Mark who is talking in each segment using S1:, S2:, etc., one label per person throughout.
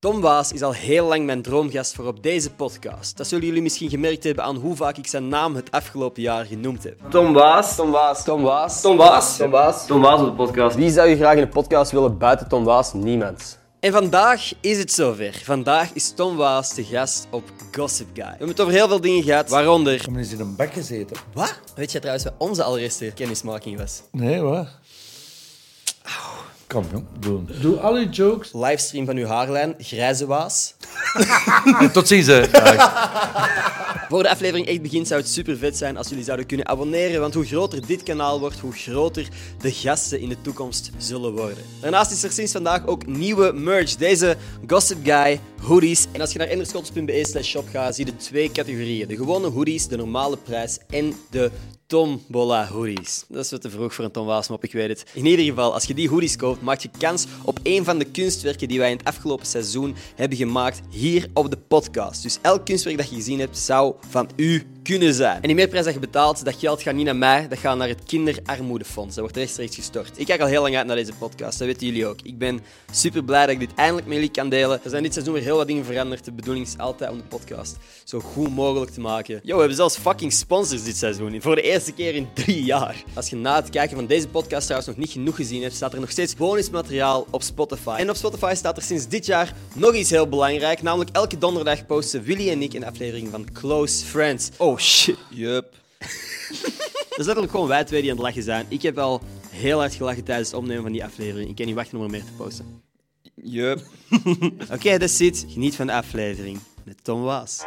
S1: Tom Waas is al heel lang mijn droomgast voor op deze podcast. Dat zullen jullie misschien gemerkt hebben aan hoe vaak ik zijn naam het afgelopen jaar genoemd heb.
S2: Tom Waas.
S1: Tom Waas.
S2: Tom Waas.
S1: Tom Waas.
S2: Tom Waas. Tom Waas op de podcast. Wie zou je graag in de podcast willen buiten Tom Waas? Niemand.
S1: En vandaag is het zover. Vandaag is Tom Waas te gast op Gossip Guy. We hebben het over heel veel dingen gehad, waaronder...
S3: Ik heb eens in een bek gezeten.
S1: Wat? Weet je trouwens wat onze allereerste kennismaking was?
S3: Nee, wat? Kom, jong, doe hem. Doe al je jokes.
S1: Livestream van uw haarlijn, Grijze Waas.
S3: Tot ziens, hè.
S1: Voor de aflevering echt begint zou het super vet zijn als jullie zouden kunnen abonneren, want hoe groter dit kanaal wordt, hoe groter de gasten in de toekomst zullen worden. Daarnaast is er sinds vandaag ook nieuwe merch, deze Gossip Guy hoodies. En als je naar enderscots.be slash shop gaat, zie je twee categorieën. De gewone hoodies, de normale prijs en de Tombola hoodies. Dat is wat te vroeg voor een Tom Waasmop, ik weet het. In ieder geval, als je die hoodies koopt, maak je kans op een van de kunstwerken die wij in het afgelopen seizoen hebben gemaakt hier op de podcast. Dus elk kunstwerk dat je gezien hebt, zou van u kunnen zijn. En die meerprijs dat je betaalt, dat geld gaat niet naar mij, dat gaat naar het kinderarmoedefonds. Dat wordt rechtstreeks gestort. Ik kijk al heel lang uit naar deze podcast, dat weten jullie ook. Ik ben super blij dat ik dit eindelijk met jullie kan delen. Er zijn dit seizoen weer heel wat dingen veranderd. De bedoeling is altijd om de podcast zo goed mogelijk te maken. Yo, we hebben zelfs fucking sponsors dit seizoen. Voor de eerste keer in drie jaar. Als je na het kijken van deze podcast trouwens nog niet genoeg gezien hebt, staat er nog steeds bonusmateriaal op Spotify. En op Spotify staat er sinds dit jaar nog iets heel belangrijk. Namelijk elke donderdag posten Willy en ik een aflevering van Close Friends. Oh shit. Yup. Dat is letterlijk gewoon wij twee die aan het lachen zijn. Ik heb al heel hard gelachen tijdens het opnemen van die aflevering. Ik kan niet wachten om er meer te posten. Yup. Oké, that's it. Geniet van de aflevering met Tom Waas.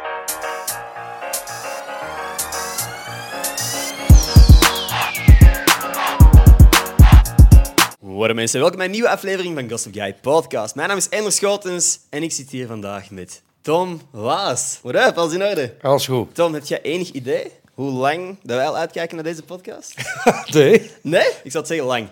S1: Worden mensen, welkom bij een nieuwe aflevering van Gossip Guy Podcast. Mijn naam is Ender Schotens en ik zit hier vandaag met Tom Waas. What up, alles in orde?
S3: Alles goed.
S1: Tom, heb jij enig idee hoe lang dat wij al uitkijken naar deze podcast?
S3: Nee.
S1: Nee? Ik zou het zeggen lang.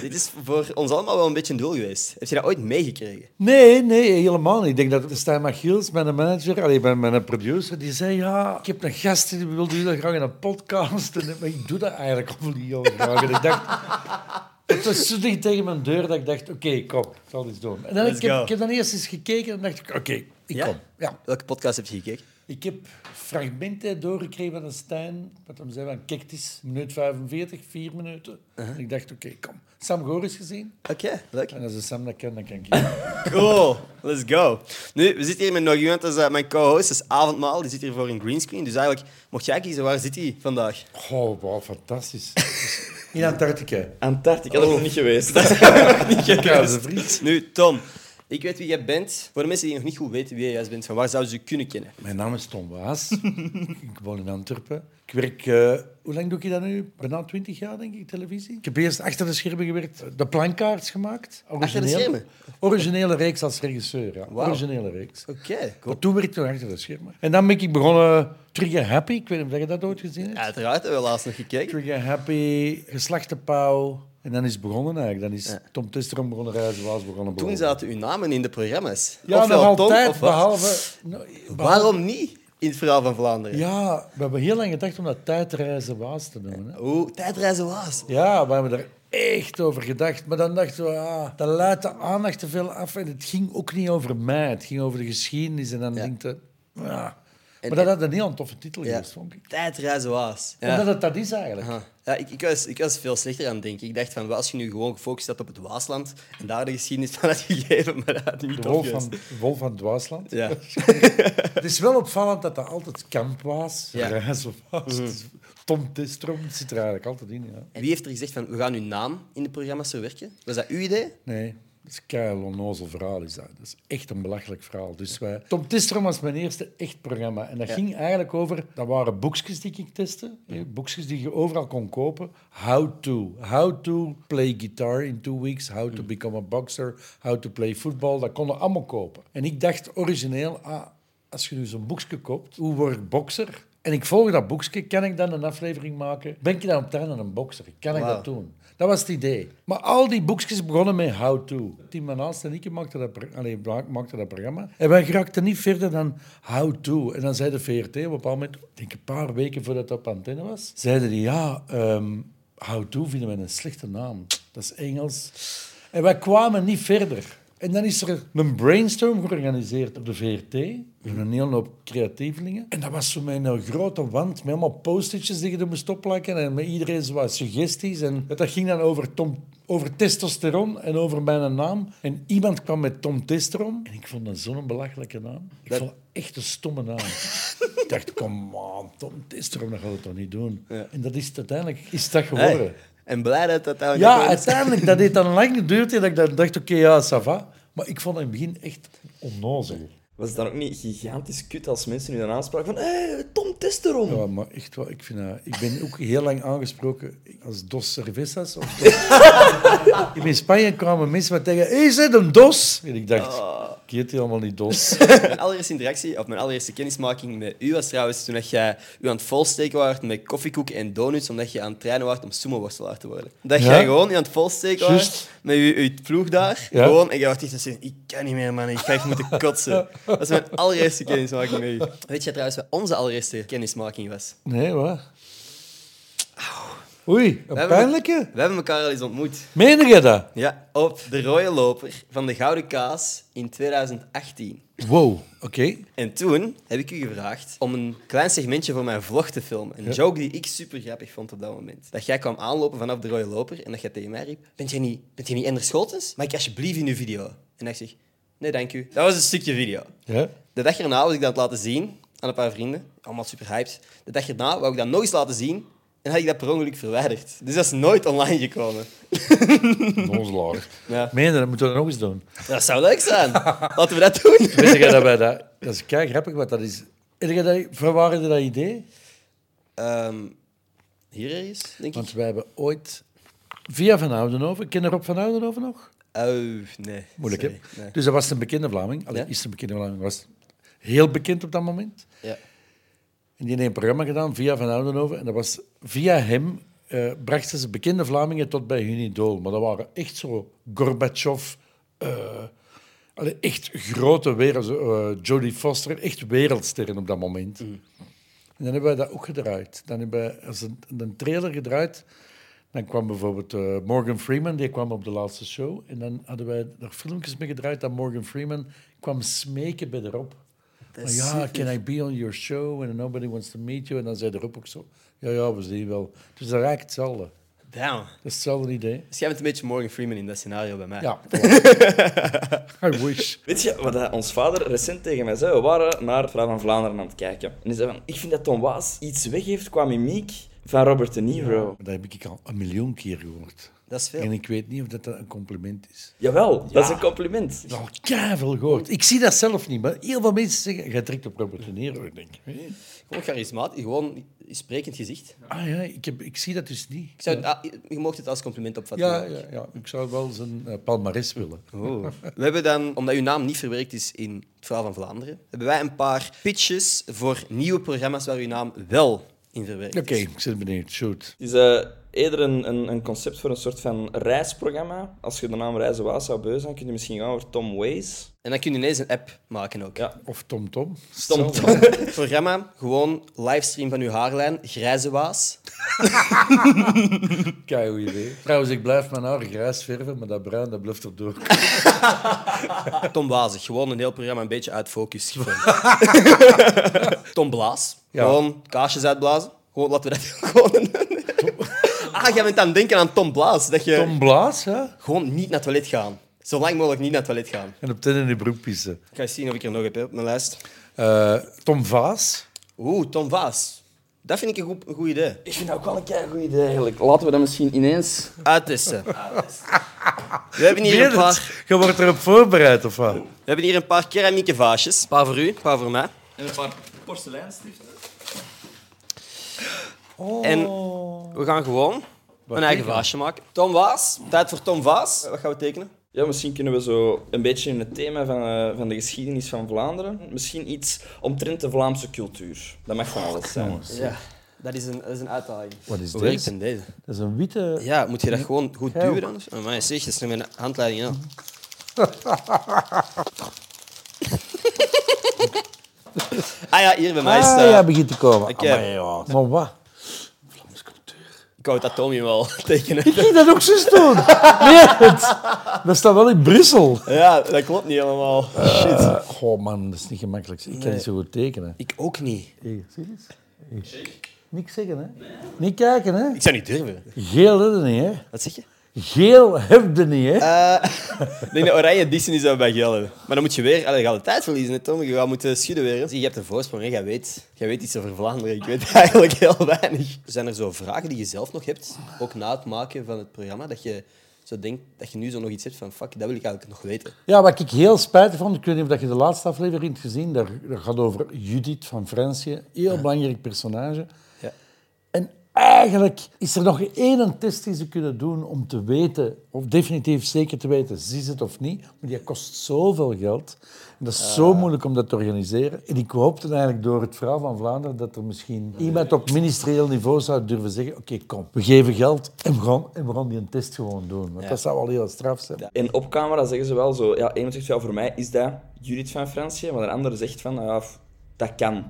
S1: Dit is voor ons allemaal wel een beetje een doel geweest. Heb je dat ooit meegekregen?
S3: Nee, nee, helemaal niet. Ik denk dat Stijn Machiels, mijn manager, allee, mijn, mijn producer, die zei, ja, ik heb een gast die wil doen dat graag in een podcast. En, maar ik doe dat eigenlijk al niet heel graag. En ik dacht... Het was zo dicht tegen mijn deur dat ik dacht, oké, kom, ik zal iets doen. En dan,
S1: Let's
S3: ik, heb,
S1: go.
S3: ik heb dan eerst eens gekeken en dacht ik, oké, ik
S1: Ja?
S3: kom. Ja.
S1: Welke podcast heb je gekeken?
S3: Ik heb fragmenten doorgekregen van een Stijn. Wat hem zei van, kijk, het is minuut 45, vier minuten. En ik dacht, oké, kom. Sam Goris gezien.
S1: Oké, leuk.
S3: En als de Sam dat kent, dan kan ik hier.
S1: Cool, let's go. Nu, we zitten hier met nog iemand, dat is eh, mijn co-host, dat is Avondmaal. Die zit hier voor een greenscreen. Dus eigenlijk, mocht jij kiezen, waar zit hij vandaag?
S3: Oh, wauw, fantastisch. In Antarctica.
S1: Antarctica, dat is nog niet geweest. Dat niet
S3: Koude vriend.
S1: Oh. Nu, Tom, ik weet wie jij bent. Voor de mensen die nog niet goed weten wie jij juist bent, van waar zouden ze je kunnen kennen?
S3: Mijn naam is Tom Waas. ik woon in Antwerpen. Ik werk... eh, hoe lang doe ik dat nu? Bijna twintig jaar, denk ik, televisie. Ik heb eerst achter de schermen gewerkt. eh, De plankaarts gemaakt.
S1: Achter de schermen?
S3: Originele reeks als regisseur, ja.
S1: Wauw.
S3: Originele reeks.
S1: Oké, cool.
S3: Maar toen werd ik nog achter de schermen. En dan ben ik begonnen... Trigger Happy. Ik weet niet of je dat ooit gezien hebt.
S1: Uiteraard hebben we laatst nog gekeken.
S3: Trigger Happy, Geslachte Pauw. En dan is het begonnen eigenlijk. Dan is Tom Testerom begonnen reizen, Waas begonnen.
S1: Toen
S3: begonnen.
S1: zaten uw namen in de programma's.
S3: Ja,
S1: Ofwel
S3: nog altijd,
S1: Tom, of wat?
S3: behalve... nou, behalve-
S1: Waarom niet in het verhaal van Vlaanderen?
S3: Ja, we hebben heel lang gedacht om dat tijdreizen waas te doen. Hè.
S1: Oeh, tijdreizen was.
S3: Ja, we hebben er echt over gedacht. Maar dan dachten we, ah, dan leidt de aandacht te veel af. En het ging ook niet over mij, het ging over de geschiedenis. En dan denk je, ja. Maar dat had een heel toffe titel geweest, vond ik.
S1: Tijdreizen was. Ja.
S3: Omdat het dat is eigenlijk.
S1: Aha. Ja, ik, ik, was, ik was veel slechter aan het denken. Ik dacht van, wat als je nu gewoon gefocust had op het Waasland en daar de geschiedenis van had gegeven, maar dat had niet
S3: De
S1: tof
S3: wolf
S1: geweest.
S3: van, wolf van Dwaasland.
S1: Ja.
S3: Het is wel opvallend dat dat altijd kamp was.
S1: Ja.
S3: Reizen was. Tom Testrom zit er eigenlijk altijd in. Ja.
S1: Wie heeft er gezegd van, we gaan uw naam in de programma's verwerken? Was dat uw idee?
S3: Nee, dat is een keil onnozel verhaal. Is dat. dat is echt een belachelijk verhaal. Dus wij... Tom Tistrom was mijn eerste echt programma. En dat ging eigenlijk over... Dat waren boekjes die ik testte. hè, Boekjes die je overal kon kopen. How to. How to play guitar in two weeks. How to become a boxer. How to play football. Dat konden allemaal kopen. En ik dacht origineel... Ah, als je nu zo'n boekje koopt, hoe word ik bokser? En ik volg dat boekje, kan ik dan een aflevering maken? Ben ik dan op tijd een bokser? Kan ik
S1: Wauw.
S3: dat doen? Dat was het idee. Maar al die boekjes begonnen met How To. Tim Manaas en ik maakten dat, pro- allee, bla- maakten dat programma. En wij geraakten niet verder dan How To. En dan zei de VRT op een bepaald moment, ik denk een paar weken voordat dat op antenne was, zeiden die, ja, ehm, How To vinden we een slechte naam. Dat is Engels. En wij kwamen niet verder. En dan is er een brainstorm georganiseerd op de VRT. Door een hele hoop creatievelingen. En dat was voor mij een grote wand met allemaal post-itjes die je er moest opplakken. En met iedereen zo wat suggesties. En dat ging dan over, Tom, over testosteron en over mijn naam. En iemand kwam met Tom Testosteron. En ik vond dat zo'n belachelijke naam. Ik
S1: Dat-
S3: vond echt een stomme naam. ik dacht, kom on, Tom Testosteron, dat gaat het toch niet doen? En dat is het uiteindelijk is dat geworden.
S1: Hey. En blij dat dat uiteindelijk...
S3: Ja,
S1: ook is.
S3: uiteindelijk. Dat heeft dan lang geduurd. hè, Dat ik dan dacht, oké, ja, ça va. Maar ik vond het in het begin echt onnozel.
S4: Was het dan ook niet gigantisch kut als mensen nu dan aanspraken van hey, Tom Testeron?
S3: Ja, maar echt wel, ik, vind, dat- ik ben ook heel lang aangesproken als dos cervezas. Of in Spanje kwamen mensen wat tegen, hey, is het een dos? En ik dacht, ik heet helemaal niet dos.
S1: Mijn allereerste interactie, of mijn allereerste kennismaking met u was trouwens toen dat jij u aan het volsteken was met koffiekoek en donuts, omdat je aan het trainen was om sumo-worstelaar te worden. Dat
S3: Ja.
S1: jij gewoon je aan het volsteken was
S3: Juist.
S1: met je, je ploeg daar.
S3: Ja.
S1: Gewoon, en jij was echt zin, ik kan niet meer, man. Ik ga echt moeten kotsen. Dat is mijn allereerste kennismaking met u. Weet je trouwens wat onze allereerste kennismaking was?
S3: Nee, wat? Oei, een
S1: hebben-
S3: pijnlijke.
S1: We hebben elkaar al eens ontmoet.
S3: Meen je dat?
S1: Ja, op de rode loper van de Gouden Kaas in 2018.
S3: Wow, oké.
S1: En toen heb ik u gevraagd om een klein segmentje voor mijn vlog te filmen. Een joke die ik super grappig vond op dat moment. Dat jij kwam aanlopen vanaf de rode loper en dat jij tegen mij riep: Bent jij niet, bent jij niet Ender Scholtens? Mag ik alsjeblieft in uw video? En ik zeg: Nee, dank u. Dat was een stukje video.
S3: Ja.
S1: De dag erna was ik dat aan het laten zien aan een paar vrienden. Allemaal super hyped. De dag erna wou ik dat nog eens laten zien en had ik dat per ongeluk verwijderd. Dus dat is nooit online gekomen.
S3: Nozelaar.
S1: Ja.
S3: Meen je dat? Moeten we dat nog eens doen?
S1: Dat zou leuk zijn. Laten we dat doen.
S3: Weet je dat wij dat... Dat is kei grappig wat dat is. Heb je dat, van waar heb je dat idee?
S1: Ehm, hier ergens, denk ik.
S3: Want wij hebben ooit... Via Van Oudenhoven. Ken je Rob Van Oudenhoven nog?
S1: Au, Oh, nee.
S3: Moeilijk,
S1: Sorry,
S3: hè?
S1: nee.
S3: Dus dat was een bekende Vlaming. Allee,
S1: Ja.
S3: is een bekende Vlaming. Was heel bekend op dat moment.
S1: Ja.
S3: En die heeft een programma gedaan via Van Oudenhoven. En dat was via hem eh, brachten ze bekende Vlamingen tot bij hun idool. Maar dat waren echt zo Gorbachev, eh, allee, echt grote wereld, eh, Jodie Foster, echt wereldsterren op dat moment.
S1: Mm.
S3: En dan hebben wij dat ook gedraaid. Dan hebben wij als een, een trailer gedraaid. Dan kwam bijvoorbeeld eh, Morgan Freeman, die kwam op de laatste show. En dan hadden wij daar filmpjes mee gedraaid dat Morgan Freeman kwam smeken bij de Rob.
S1: Dat
S3: Maar
S1: is
S3: ja,
S1: super.
S3: can I be on your show and nobody wants to meet you? En dan zei de Rob ook zo, ja, ja, we zien wel. Dus dat raakt hetzelfde.
S1: Damn.
S3: Dat is hetzelfde idee.
S1: Dus jij bent een beetje Morgan Freeman in dat scenario bij mij.
S3: Ja. I wish.
S4: Weet je wat dat ons vader recent tegen mij zei? We waren naar Vrouw van Vlaanderen aan het kijken. En hij zei van, ik vind dat Tom Waas iets weggeeft qua mimiek van Robert De Niro.
S3: Dat heb ik al een miljoen keer gehoord.
S1: Dat is veel.
S3: En ik weet niet of dat een compliment is.
S4: Jawel, dat is een compliment.
S3: Ik heb al keiveel gehoord. Ik zie dat zelf niet, maar heel veel mensen zeggen, jij trekt op Robert De Niro. Ik denk, hè?
S1: Gewoon charismatisch, gewoon een sprekend gezicht.
S3: ah ja, ik, heb, ik zie dat dus niet.
S1: Ik zou, ah, je mocht het als compliment opvatten.
S3: Ja, ja, ja, ik zou wel zijn eh, palmares willen.
S1: We hebben dan, omdat uw naam niet verwerkt is in het verhaal van Vlaanderen, hebben wij een paar pitches voor nieuwe programma's waar uw naam wel in verwerkt
S3: Oké,
S1: is.
S3: ik ben benieuwd. Shoot.
S4: Het is eh, eerder een, een, een concept voor een soort van reisprogramma. Als je de naam Reizen Waas zou beu zijn, kun je misschien gaan voor Tom Ways.
S1: En dan kun je ineens een app maken ook.
S4: Ja.
S3: Of Tom Tom.
S4: Tom
S3: Hetzelfde.
S4: Tom.
S1: Het programma, gewoon livestream van uw haarlijn, grijze waas.
S3: Kei idee. Trouwens, ik blijf mijn haar grijs verven, maar dat bruin dat blijft er door.
S1: Tom Wazig, gewoon een heel programma een beetje uit focus Tom Blaas,
S3: Ja.
S1: gewoon kaarsjes uitblazen. Gewoon, laten we dat gewoon... een- Ah, jij bent aan het denken aan Tom Blaas. Dat je
S3: Tom Blaas, hè?
S1: gewoon niet naar het toilet gaan. Zo lang mogelijk niet naar het toilet gaan.
S3: En op ten in de broek pissen.
S1: Ik ga eens zien of ik er nog heb hè, op mijn lijst.
S3: Eh, Tom Vaas.
S1: Oeh, Tom Vaas. Dat vind ik een goed, een goed idee.
S4: Ik vind dat ook wel een kei goed idee eigenlijk. Laten we dat misschien ineens...
S1: Uittesten. We hebben hier een
S3: Weet het,
S1: paar,
S3: Je wordt erop voorbereid, of wat?
S1: we hebben hier een paar keramieke vaasjes. Een paar voor u, een paar voor mij.
S4: En een paar porseleinstiften.
S1: Oh. En we gaan gewoon een eigen vaasje maken. Tom Vaas, tijd voor Tom Vaas. Wat gaan we tekenen?
S4: Ja, misschien kunnen we zo een beetje in het thema van, eh, van de geschiedenis van Vlaanderen. Misschien iets omtrent de Vlaamse cultuur. Dat mag van alles zijn.
S1: Ja, dat is een, dat is een uitdaging.
S3: Wat is
S1: Hoe
S3: dit?
S1: werkt dan deze?
S3: Dat is een witte...
S1: Ja, moet je dat gewoon goed
S3: Heel.
S1: duwen dan? Oh, maar zeg, dat is nu mijn handleiding. Ja. ah ja, hier bij mij is
S3: Ah,
S1: dat. Ah
S3: Ah, ja, begint te komen.
S1: Oké.
S3: Ah, Amai, ja. Maar wat? Vlaams cultuur.
S1: Ik wou dat Tommy wel tekenen.
S3: Ging dat ook zo doen? Nee, het. dat staat wel in Brussel.
S1: Ja, dat klopt niet helemaal. Oh, Shit.
S3: Goh man, dat is niet gemakkelijk. Ik kan niet zo goed tekenen.
S1: Ik ook niet.
S3: Hey, zie eens. Hey. Niks zeggen, hè? Niet kijken, hè?
S1: Ik zou niet durven.
S3: Geel heb je niet, hè?
S1: Wat zeg je?
S3: Geel heb je niet, hè?
S1: Ik denk dat Eh, oranje Disney zou bij geel hebben. Maar dan moet je weer... Allee, je gaat de tijd verliezen, hè, Tom. Je gaat moeten schudden weer. hè. Zie, je hebt een voorsprong, hè. Jij weet, jij weet iets over Vlaanderen. Ik weet eigenlijk heel weinig. Zijn er zo vragen die je zelf nog hebt, ook na het maken van het programma, dat je zo denkt dat je nu zo nog iets hebt van fuck, dat wil ik eigenlijk nog weten.
S3: Ja, wat ik heel spijtig vond, ik weet niet of je de laatste aflevering hebt gezien, daar, dat gaat over Judith van Fransje, heel belangrijk personage.
S1: Ja.
S3: En eigenlijk is er nog één test die ze kunnen doen om te weten, of definitief zeker te weten, is het of niet. Maar die kost zoveel geld. En dat is zo moeilijk om dat te organiseren. En ik hoopte eigenlijk door het verhaal van Vlaanderen dat er misschien iemand op ministerieel niveau zou durven zeggen, oké, kom, we geven geld en we gaan, en we gaan die een test gewoon doen. Want dat zou al heel straf zijn.
S4: En op camera zeggen ze wel zo... Ja, iemand zegt, ja, voor mij is dat Judith van Fransje, maar de andere zegt van, ja, f- dat kan.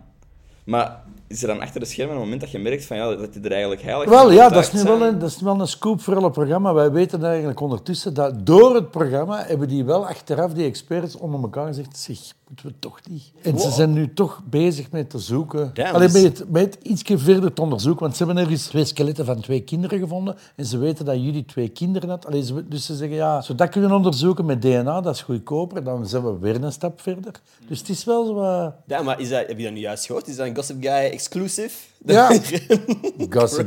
S4: Maar is er dan achter de schermen een moment dat je merkt van, ja, dat die er eigenlijk heilig
S3: Wel,
S4: van
S3: ja, dat is,
S4: overtuigd
S3: nu
S4: zijn?
S3: wel een, dat is nu wel een scoop voor alle programma. Wij weten eigenlijk ondertussen dat door het programma hebben die wel achteraf, die experts, onder elkaar gezegd, zeg, moeten we toch niet. En ze zijn nu toch bezig met te zoeken.
S1: Damn,
S3: Alleen
S1: dus-
S3: met, het- met ietsje verder te onderzoeken, want ze hebben ergens twee skeletten van twee kinderen gevonden en ze weten dat jullie twee kinderen had. Allee, ze- dus ze zeggen, ja, zodat kunnen onderzoeken met DNA, dat is goedkoper, dan zijn we weer een stap verder. Dus het is wel zo... eh,
S1: Ja, maar is dat, heb je dat nu juist gehoord? Is dat een Gossip Guy exclusive?
S3: Ja.
S1: Dat-
S3: Gossip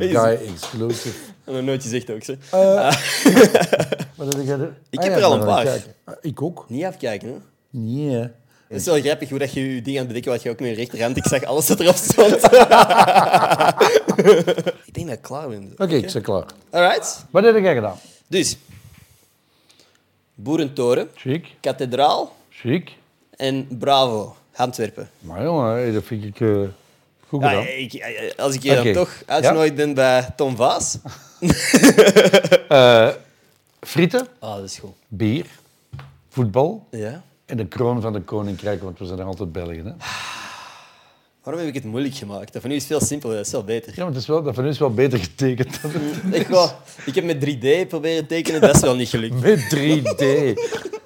S1: Crazy.
S3: Guy exclusive.
S1: En een nootje zegt ook, zo.
S3: Wat heb jij er?
S1: Ik heb er al een
S3: dan
S1: paar.
S3: kijk. Ah, Ik ook.
S1: Niet afkijken, hè.
S3: Nee, hè.
S1: Het is wel grappig hoe dat je je ding aan het bedekken was. Je ook met je rechterhand. Ik zag alles dat erop stond. ik denk dat ik klaar ben.
S3: Oké, ik ben klaar.
S1: Alright.
S3: Wat heb jij gedaan?
S1: Dus. Boerentoren,
S3: Chic,
S1: kathedraal
S3: chic.
S1: en Bravo, Antwerpen.
S3: Maar jongen, hé, dat vind ik eh, goed
S1: Ja,
S3: gedaan.
S1: ik, eh, als ik je
S3: Oké.
S1: dan toch uitgenooid ben bij Tom Vaas.
S3: Eh, frieten,
S1: Ah, dat is goed.
S3: bier, voetbal
S1: Ja.
S3: en de kroon van de koninkrijk, want we zijn nog altijd Belgen. Hè? Ja,
S1: Waarom heb ik het moeilijk gemaakt? Dat van u is veel simpeler, dat is wel beter.
S3: maar het is wel, dat van u is wel beter getekend dan het
S1: Echt wel. Ik heb met 3D proberen tekenen, dat is wel niet gelukt.
S3: met 3D.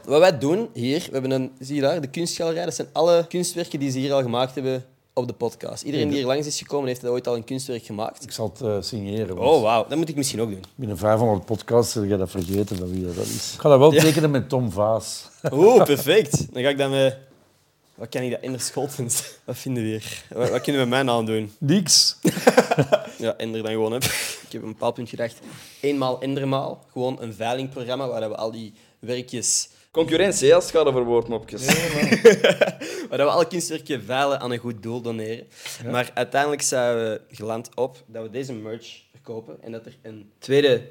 S1: Wat wij doen hier, we hebben een, zie je daar, de kunstgalerij. Dat zijn alle kunstwerken die ze hier al gemaakt hebben op de podcast. Iedereen die hier langs is gekomen, heeft ooit al een kunstwerk gemaakt.
S3: Ik zal het eh, signeren. want
S1: Oh, wauw. Dat moet ik misschien ook doen.
S3: Binnen 500 podcasts ga je dat vergeten van wie dat is. Ik ga dat wel tekenen met Tom Vaas.
S1: Oeh, perfect. Dan ga ik dan met... Wat kan ik dat? Ender Scholtens. Wat vinden we hier? Wat, wat kunnen we mijn naam doen?
S3: Niks.
S1: Ja, Ender dan gewoon. Hè. Ik heb op een bepaald punt gedacht, eenmaal Endermaal. Gewoon een veilingprogramma waar we al die werkjes...
S4: Concurrentie, ja, schade voor woordmopjes.
S1: Maar dat we alle kunstwerken veilen aan een goed doel doneren. Maar uiteindelijk zijn we geland op dat we deze merch verkopen en dat er een tweede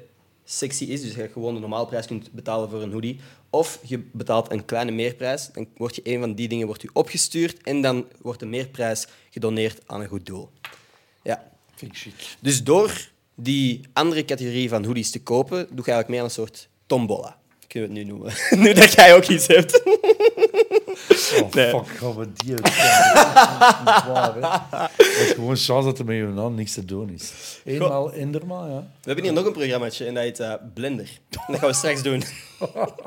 S1: sectie is. Dus dat je gewoon de normale prijs kunt betalen voor een hoodie. Of je betaalt een kleine meerprijs. Dan wordt je een van die dingen wordt u opgestuurd en dan wordt de meerprijs gedoneerd aan een goed doel. Ja.
S3: Vind ik chic.
S1: Dus door die andere categorie van hoodies te kopen, doe je eigenlijk meer aan een soort tombola. Kunnen we het nu noemen. nu dat jij ook iets hebt.
S3: Oh, fuck, gaan we die uitkijken. Dat is niet waar, hè. Het is gewoon chance dat er met je naam niks te doen is. Eenmaal, indermaal, ja.
S1: We hebben hier nog een programmaatje en dat heet eh, Blender. En dat gaan we straks doen.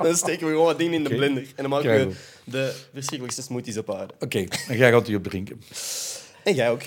S1: dan steken we gewoon wat dingen in de
S3: Oké.
S1: blender. En dan maken
S3: Krijgen
S1: we de verschrikkelijkste smoothies op aarde.
S3: Oké, en jij gaat die opdrinken.
S1: En jij ook.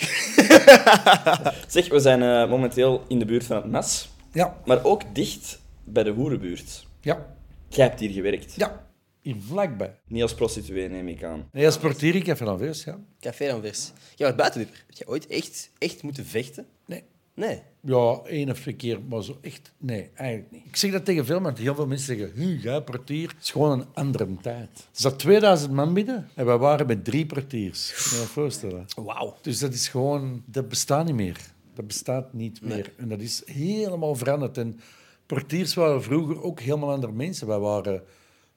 S4: Zeg, we zijn eh, momenteel in de buurt van het Nas,
S3: Ja,
S4: maar ook dicht bij de hoerenbuurt.
S3: ja,
S4: Jij hebt hier gewerkt.
S3: ja. Hier vlakbij.
S4: Niet als prostituee, neem ik aan.
S3: Nee, als portier, ik heb vanaf eerst, ja.
S1: Café dan vers. Jij was buitenwipper. Heb jij ooit echt, echt moeten vechten?
S3: Nee.
S1: Nee.
S3: Ja, één of twee keer, maar zo echt, nee, eigenlijk niet. Ik zeg dat tegen veel, maar heel veel mensen zeggen, hu, jij portier. Het is gewoon een andere tijd. Er zat 2000 man binnen en wij waren met drie portiers. Kun je je dat voorstellen?
S1: Wauw.
S3: Dus dat is gewoon, dat bestaat niet meer. Dat bestaat niet meer. En dat is helemaal veranderd. En portiers waren vroeger ook helemaal andere mensen. Wij waren,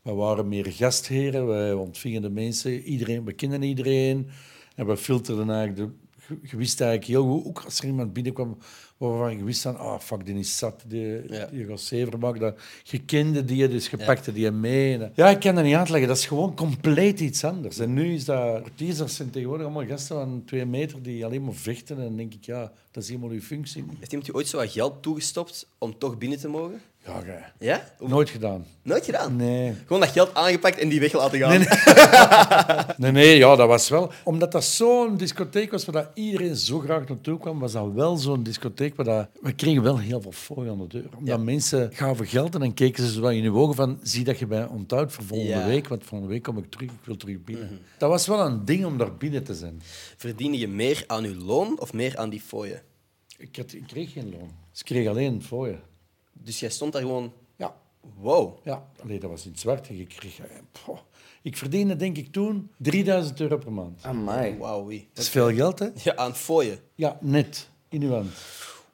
S3: wij waren meer gastheren, wij ontvingen de mensen, iedereen, we kenden iedereen. En we filterden eigenlijk de je, je wist eigenlijk heel goed, ook als er iemand binnenkwam waarvan je wist van, ah, fuck, die is zat, die,
S1: Ja.
S3: die gaat zever maken. Dat, je kende die, dus je pakte die mee. En eh, dat- ja, ik kan dat niet uitleggen. Dat is gewoon compleet iets anders. En nu is dat... Teasers zijn tegenwoordig allemaal gasten van twee meter die alleen maar vechten. En dan denk ik, ja, dat is helemaal uw functie. niet.
S1: Heeft iemand u ooit zo wat geld toegestopt om toch binnen te mogen?
S3: Ja, gij.
S1: Ja? Of
S3: Nooit gedaan.
S1: Nooit gedaan?
S3: Nee.
S1: Gewoon dat geld aangepakt en die weg laten gaan.
S3: Nee, nee, ja, dat was wel. Omdat dat zo'n discotheek was waar dat iedereen zo graag naartoe kwam, was dat wel zo'n discotheek waar dat... We kregen wel heel veel fooi aan de deur. Omdat mensen gaven geld en dan keken ze zo wat in hun ogen van... Zie dat je mij onthoudt voor volgende
S1: Ja.
S3: week, want volgende week kom ik terug, ik wil terug binnen. Dat was wel een ding om daar binnen te zijn.
S1: Verdien je meer aan uw loon of meer aan die fooien?
S3: Ik, had, ik kreeg geen loon. Dus ik kreeg alleen fooien.
S1: Dus jij stond daar gewoon...
S3: Ja,
S1: Wow.
S3: Ja, Allee, dat was in het zwart. En je kreeg, eh, poh. ik verdiende denk ik toen 3000 euro per maand.
S4: Amai.
S1: Wauw, wie.
S3: Dat is veel geld, hè?
S1: Ja, aan fooien.
S3: Ja, net, in uw hand.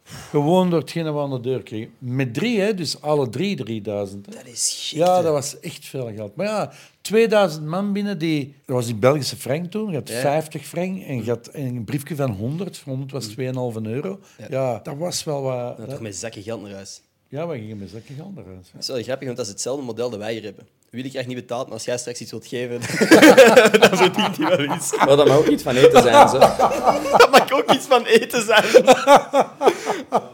S3: Gewoon door hetgeen we aan de deur kregen. Met drie, hè? dus alle drie 3000. hè.
S1: Dat is shit.
S3: Ja, dat was echt veel geld. Maar ja, 2000 man binnen die... Dat was die Belgische frank toen. Je had
S1: Ja.
S3: 50 frank en je had een briefje van 100. 100 was 2,5 euro. Ja. dat was wel wat...
S1: Dan toch met zakken geld naar huis.
S3: Ja, we gingen met zakje geld eruit.
S1: Dat is wel grappig, want dat is hetzelfde model dat wij hier hebben. Willy krijgt niet betaald, maar als jij straks iets wilt geven, dan verdient hij wel iets.
S4: Maar dat mag ook iets van eten zijn. Zo.
S1: Dat mag ook iets van eten zijn.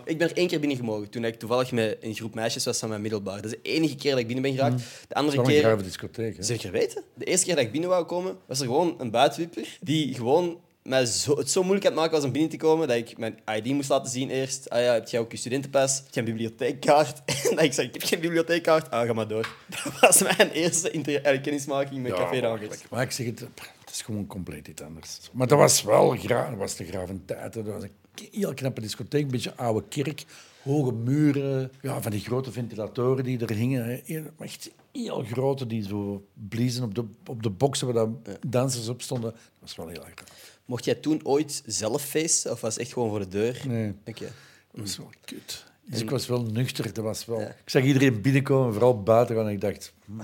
S1: ik ben er één keer binnengemogen, toen ik toevallig met een groep meisjes was van mijn middelbaar. Dat is de enige keer dat ik binnen ben geraakt. De andere
S3: Dat was een
S1: keer...
S3: grave discotheek, hè?
S1: Zeker weten. De eerste keer dat ik binnen wou komen, was er gewoon een buitenwipper die gewoon mij zo, het zo moeilijk aan het maken was om binnen te komen dat ik mijn ID moest laten zien eerst. Ah ja, heb jij ook je studentenpas? Heb jij een bibliotheekkaart? En dat ik zei, ik heb geen bibliotheekkaart. Ah, ga maar door. Dat was mijn eerste inter- eh, kennismaking met Café Rangers.
S3: Maar ik zeg het, pff, het is gewoon compleet iets anders. Maar dat was wel gra dat was de graven tijd. hè. Dat was een k- heel knappe discotheek, een beetje oude kerk, hoge muren, ja, van die grote ventilatoren die er hingen. hè. Heel- maar Echt heel grote die zo bliezen op de, op de boksen waar dan dansers op stonden. Dat was wel heel erg graaf.
S1: Mocht jij toen ooit zelf feesten of was het echt gewoon voor de deur?
S3: Nee.
S1: Oké.
S3: Dat was wel kut. Dus ik was wel nuchter. Dat was wel...
S1: Ja.
S3: Ik zag iedereen binnenkomen, vooral buiten gaan. en Ik dacht... hmm.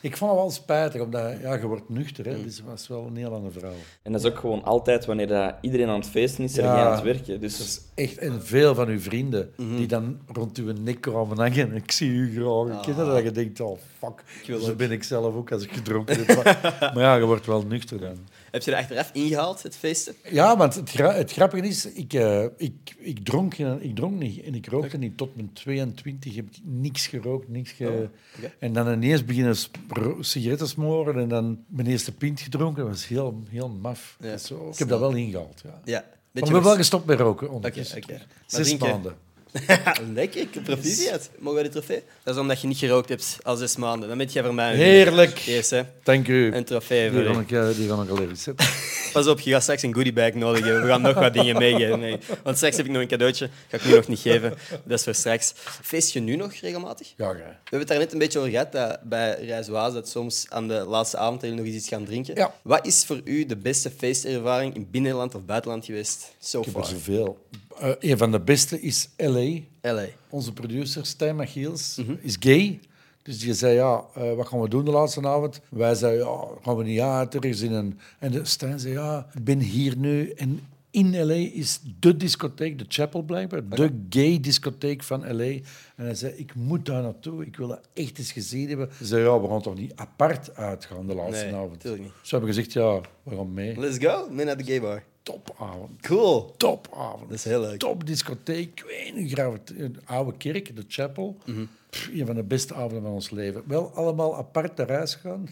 S3: Ik vond het wel spijtig, omdat ja, je wordt nuchter. Hè. Dus het was wel een heel ander verhaal.
S4: En dat is ook gewoon altijd wanneer dat iedereen aan het feesten is, en
S3: Ja.
S4: jij aan het werken. Dus
S3: Echt, en veel van uw vrienden die dan rond uw nek kwamen hangen. Ik zie u graag. Ik ken dat, dat je denkt, oh fuck,
S1: wil
S3: zo
S1: ook.
S3: ben ik zelf ook als ik gedronken heb. Maar, maar ja, je wordt wel nuchter dan.
S1: Heb je er achteraf ingehaald, het feesten?
S3: Ja, want het, gra- het grappige is, ik, eh, ik, ik, dronk, geen- ik dronk niet en ik rookte niet. Tot mijn 22 heb ik niks gerookt, niks ge...
S1: oké.
S3: En dan ineens beginnen sp- ro- sigaretten smoren en dan mijn eerste pint gedronken. Dat was heel, heel maf.
S1: Ja,
S3: Dat is zo. Ik
S1: snap.
S3: heb dat wel ingehaald, ja.
S1: Ja.
S3: Maar
S1: Beetje
S3: ik ben wel
S1: vers-
S3: gestopt met roken ondertussen.
S1: oké. Maar
S3: Zes
S1: drinken?
S3: maanden.
S1: Lekker, ik heb
S3: Dus-
S1: proficiat. Mogen wij de trofee? Dat is omdat je niet gerookt hebt al zes maanden. Dan ben jij voor mij. een winnaar.
S3: Heerlijk.
S1: Eerst, hè.
S3: Dank u.
S1: Een trofee
S3: Die
S1: voor
S3: kan
S1: u.
S3: ik, eh, die kan ik al even zetten.
S1: Pas op, je gaat straks een goodiebag nodig hebben. We gaan nog wat dingen meegeven. Nee. Want straks heb ik nog een cadeautje. Ga ik nu nog niet geven. Dat is voor straks. Feest je nu nog regelmatig?
S3: Ja, ja.
S1: We hebben het daar net een beetje over gehad dat bij Rijswaas dat soms aan de laatste avond dat jullie nog eens iets gaan drinken.
S3: Ja.
S1: Wat is voor u de beste feestervaring in binnenland of buitenland geweest? So
S3: Ik heb er
S1: far.
S3: zoveel. Eh, een van de beste is L.A.
S1: LA.
S3: Onze producer, Stijn Machiels,
S1: Mhm.
S3: is gay. Dus die zei, ja, eh, wat gaan we doen de laatste avond? Wij zeiden, ja, gaan we niet uit, er is in een... En de- Stijn zei, ja, ik ben hier nu en in L.A. is de discotheek, de Chapel blijkbaar, de gay discotheek van L.A. En hij zei, ik moet daar naartoe, ik wil dat echt eens gezien hebben. Ze zei, ja, we gaan toch niet apart uitgaan de laatste
S1: Nee,
S3: avond?
S1: tuurlijk niet.
S3: Ze hebben gezegd, ja, we gaan mee.
S1: Let's go. Mee naar de gay bar.
S3: Topavond.
S1: Cool.
S3: Topavond.
S1: Dat is heel leuk.
S3: Top discotheek. Ik weet niet, graaf- een oude kerk, de chapel.
S1: Mhm.
S3: Pff, een van de beste avonden van ons leven. Wel allemaal apart naar huis gaan.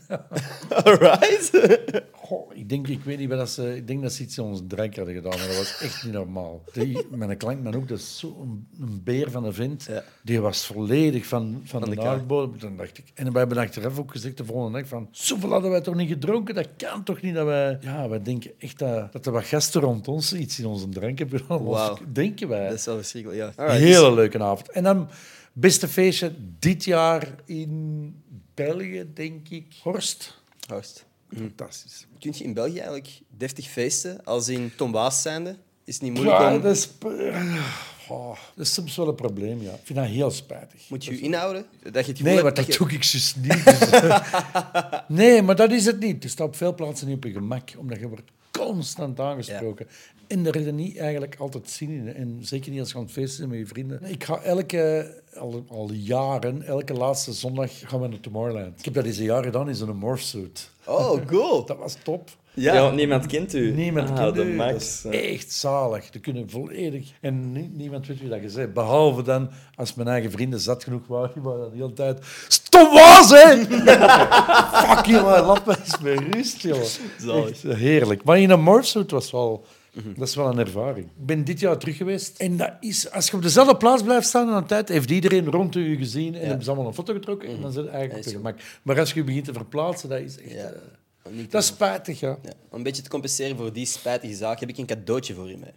S1: Alright.
S3: Goh, ik, denk, ik weet niet wat dat ze... Ik denk dat ze iets in onze drank hadden gedaan, maar dat was echt niet normaal. Die, mijn klankman ook, dat is zo'n een beer van een vent.
S1: Ja.
S3: Die was volledig van, van,
S1: de
S3: de,
S1: kaart.
S3: aardbodem. Dan dacht ik... En wij hebben achteraf ook gezegd de volgende dag van... Zoveel hadden wij toch niet gedronken? Dat kan toch niet dat wij... Ja, wij denken echt dat, dat er wat gasten rond ons iets in onze drank hebben.
S1: Wauw.
S3: Denken wij.
S1: Dat is wel verschrikkelijk, ja. Alright. dus
S3: Hele leuke avond. En dan beste feestje dit jaar in België, denk ik. Horst.
S1: Hm. Host.
S3: Fantastisch.
S1: Kun je in België eigenlijk deftig feesten als in Tom Waas zijnde? Is het niet moeilijk
S3: Ja,
S1: om...
S3: dat is... p- eh, Goh, dat is soms wel een probleem, ja. Ik vind dat heel spijtig.
S1: Moet je je inhouden? Dat je het gevoel
S3: Nee,
S1: hebt
S3: want dat
S1: je-
S3: doe ik dus niet. dus- nee, maar dat is het niet. Je staat op veel plaatsen niet op je gemak, omdat je wordt constant aangesproken. En daar heb je niet eigenlijk altijd zin in. En zeker niet als je aan het feesten bent met je vrienden. Ik ga elke, al, al jaren, elke laatste zondag gaan we naar Tomorrowland. Ik heb dat eens een jaar gedaan in zo'n morphsuit.
S1: Oh, cool.
S3: Dat was top.
S4: Ja.
S1: Ja.
S4: want niemand kent u.
S3: Niemand
S4: ah,
S3: kent
S4: de
S3: u.
S4: Max.
S3: Dat is eh. echt zalig. Die kunnen volledig... En ni- niemand weet wie dat je bent. Behalve dan, als mijn eigen vrienden zat genoeg waren, die waren dat de hele tijd... Stom was, hè! Fuck je, man. Laat me eens met rust, joh.
S4: Zalig.
S3: Echt eh, heerlijk. Maar in een morphsuit was wel... Dat is wel een ervaring. Ik ben dit jaar terug geweest. En dat is, als je op dezelfde plaats blijft staan aan een tijd, heeft iedereen rond u gezien en hebben ze allemaal een foto getrokken. En dan zit het eigenlijk op je gemak. Maar als je je begint te verplaatsen, dat is echt...
S1: Ja.
S3: eh,
S1: Niet
S3: dat is spijtig, ja.
S1: Ja, om een beetje te compenseren voor die spijtige zaak heb ik een cadeautje voor je mee.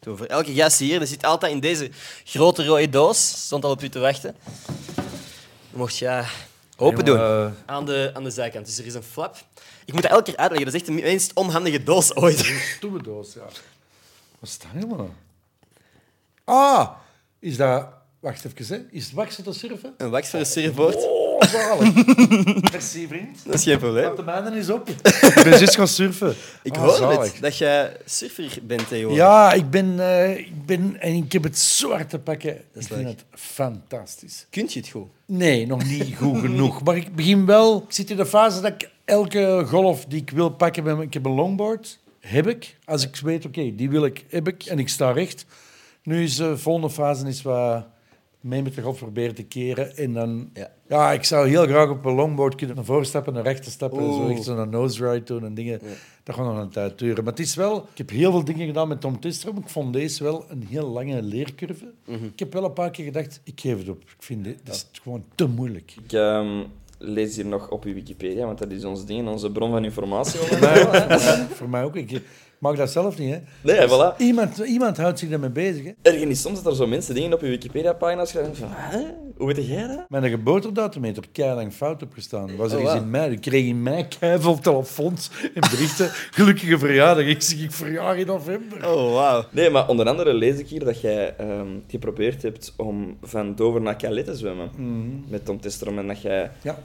S1: Zo, voor elke gast hier, er zit altijd in deze grote rode doos, stond al op u te wachten. Dan mocht je open doen
S3: Jongen, eh,
S1: aan de, aan de zijkant. Dus er is een flap. Ik moet dat elke keer uitleggen, dat is echt de meest onhandige doos ooit.
S3: Stoemendoos, ja. Wat is dat helemaal? Ah, is dat... Wacht even, hè. Is het waksen te surfen?
S1: Een wax voor een surfboard,
S3: Oh, zalig. Merci, vriend.
S1: dat is geen probleem.
S3: De mijne is op. Ik ben juist gaan surfen.
S1: Ik
S3: Ah,
S1: hoor
S3: zalig.
S1: het, dat jij surfer bent tegenwoordig.
S3: Ja, ik ben, eh, ik ben... En ik heb het zo hard te pakken. ik vind
S1: leuk.
S3: het fantastisch.
S1: Kunt je het goed?
S3: Nee, nog niet goed genoeg. Maar ik begin wel... Ik zit in de fase dat ik elke golf die ik wil pakken... Met mijn, ik heb een longboard. Heb ik. Als ik weet, oké, die wil ik, heb ik. En ik sta recht. Nu is de volgende fase is wat mee met de golf proberen te keren. En dan...
S1: Ja.
S3: Ja. ik zou heel graag op een longboard kunnen naar voren stappen, naar rechter stappen. En zo
S1: Oeh.
S3: echt zo'n nose ride doen en dingen. Dat gaat nog een tijd duren. Maar het is wel... Ik heb heel veel dingen gedaan met Tom Tistrom. Ik vond deze wel een heel lange leercurve.
S1: Mhm.
S3: Ik heb wel een paar keer gedacht, ik geef het op. Ik vind dit, dat is gewoon te moeilijk.
S4: Ik ehm, lees hier nog op uw Wikipedia, want dat is ons ding, onze bron van informatie.
S3: Voor mij ook. Ik mag dat zelf niet, hè.
S4: nee, voilà.
S3: Iemand, iemand houdt zich daarmee bezig, hè.
S4: Ergens is soms dat er zo mensen dingen op je Wikipedia-pagina schrijven van, hè? Hoe weet jij dat?
S3: Mijn geboortedatum heeft er keilang fout op gestaan. Was er
S1: Oh,
S3: iets
S1: wauw.
S3: in mei. Ik kreeg in mei keiveel telefoons en berichten. Gelukkige verjaardag. Ik zeg, ik verjaar in november.
S1: Oh, wauw.
S4: Nee, maar onder andere lees ik hier dat jij ehm, geprobeerd hebt om van Dover naar Calais te zwemmen
S3: Mhm.
S4: met Tom Testrom en dat jij
S3: Ja,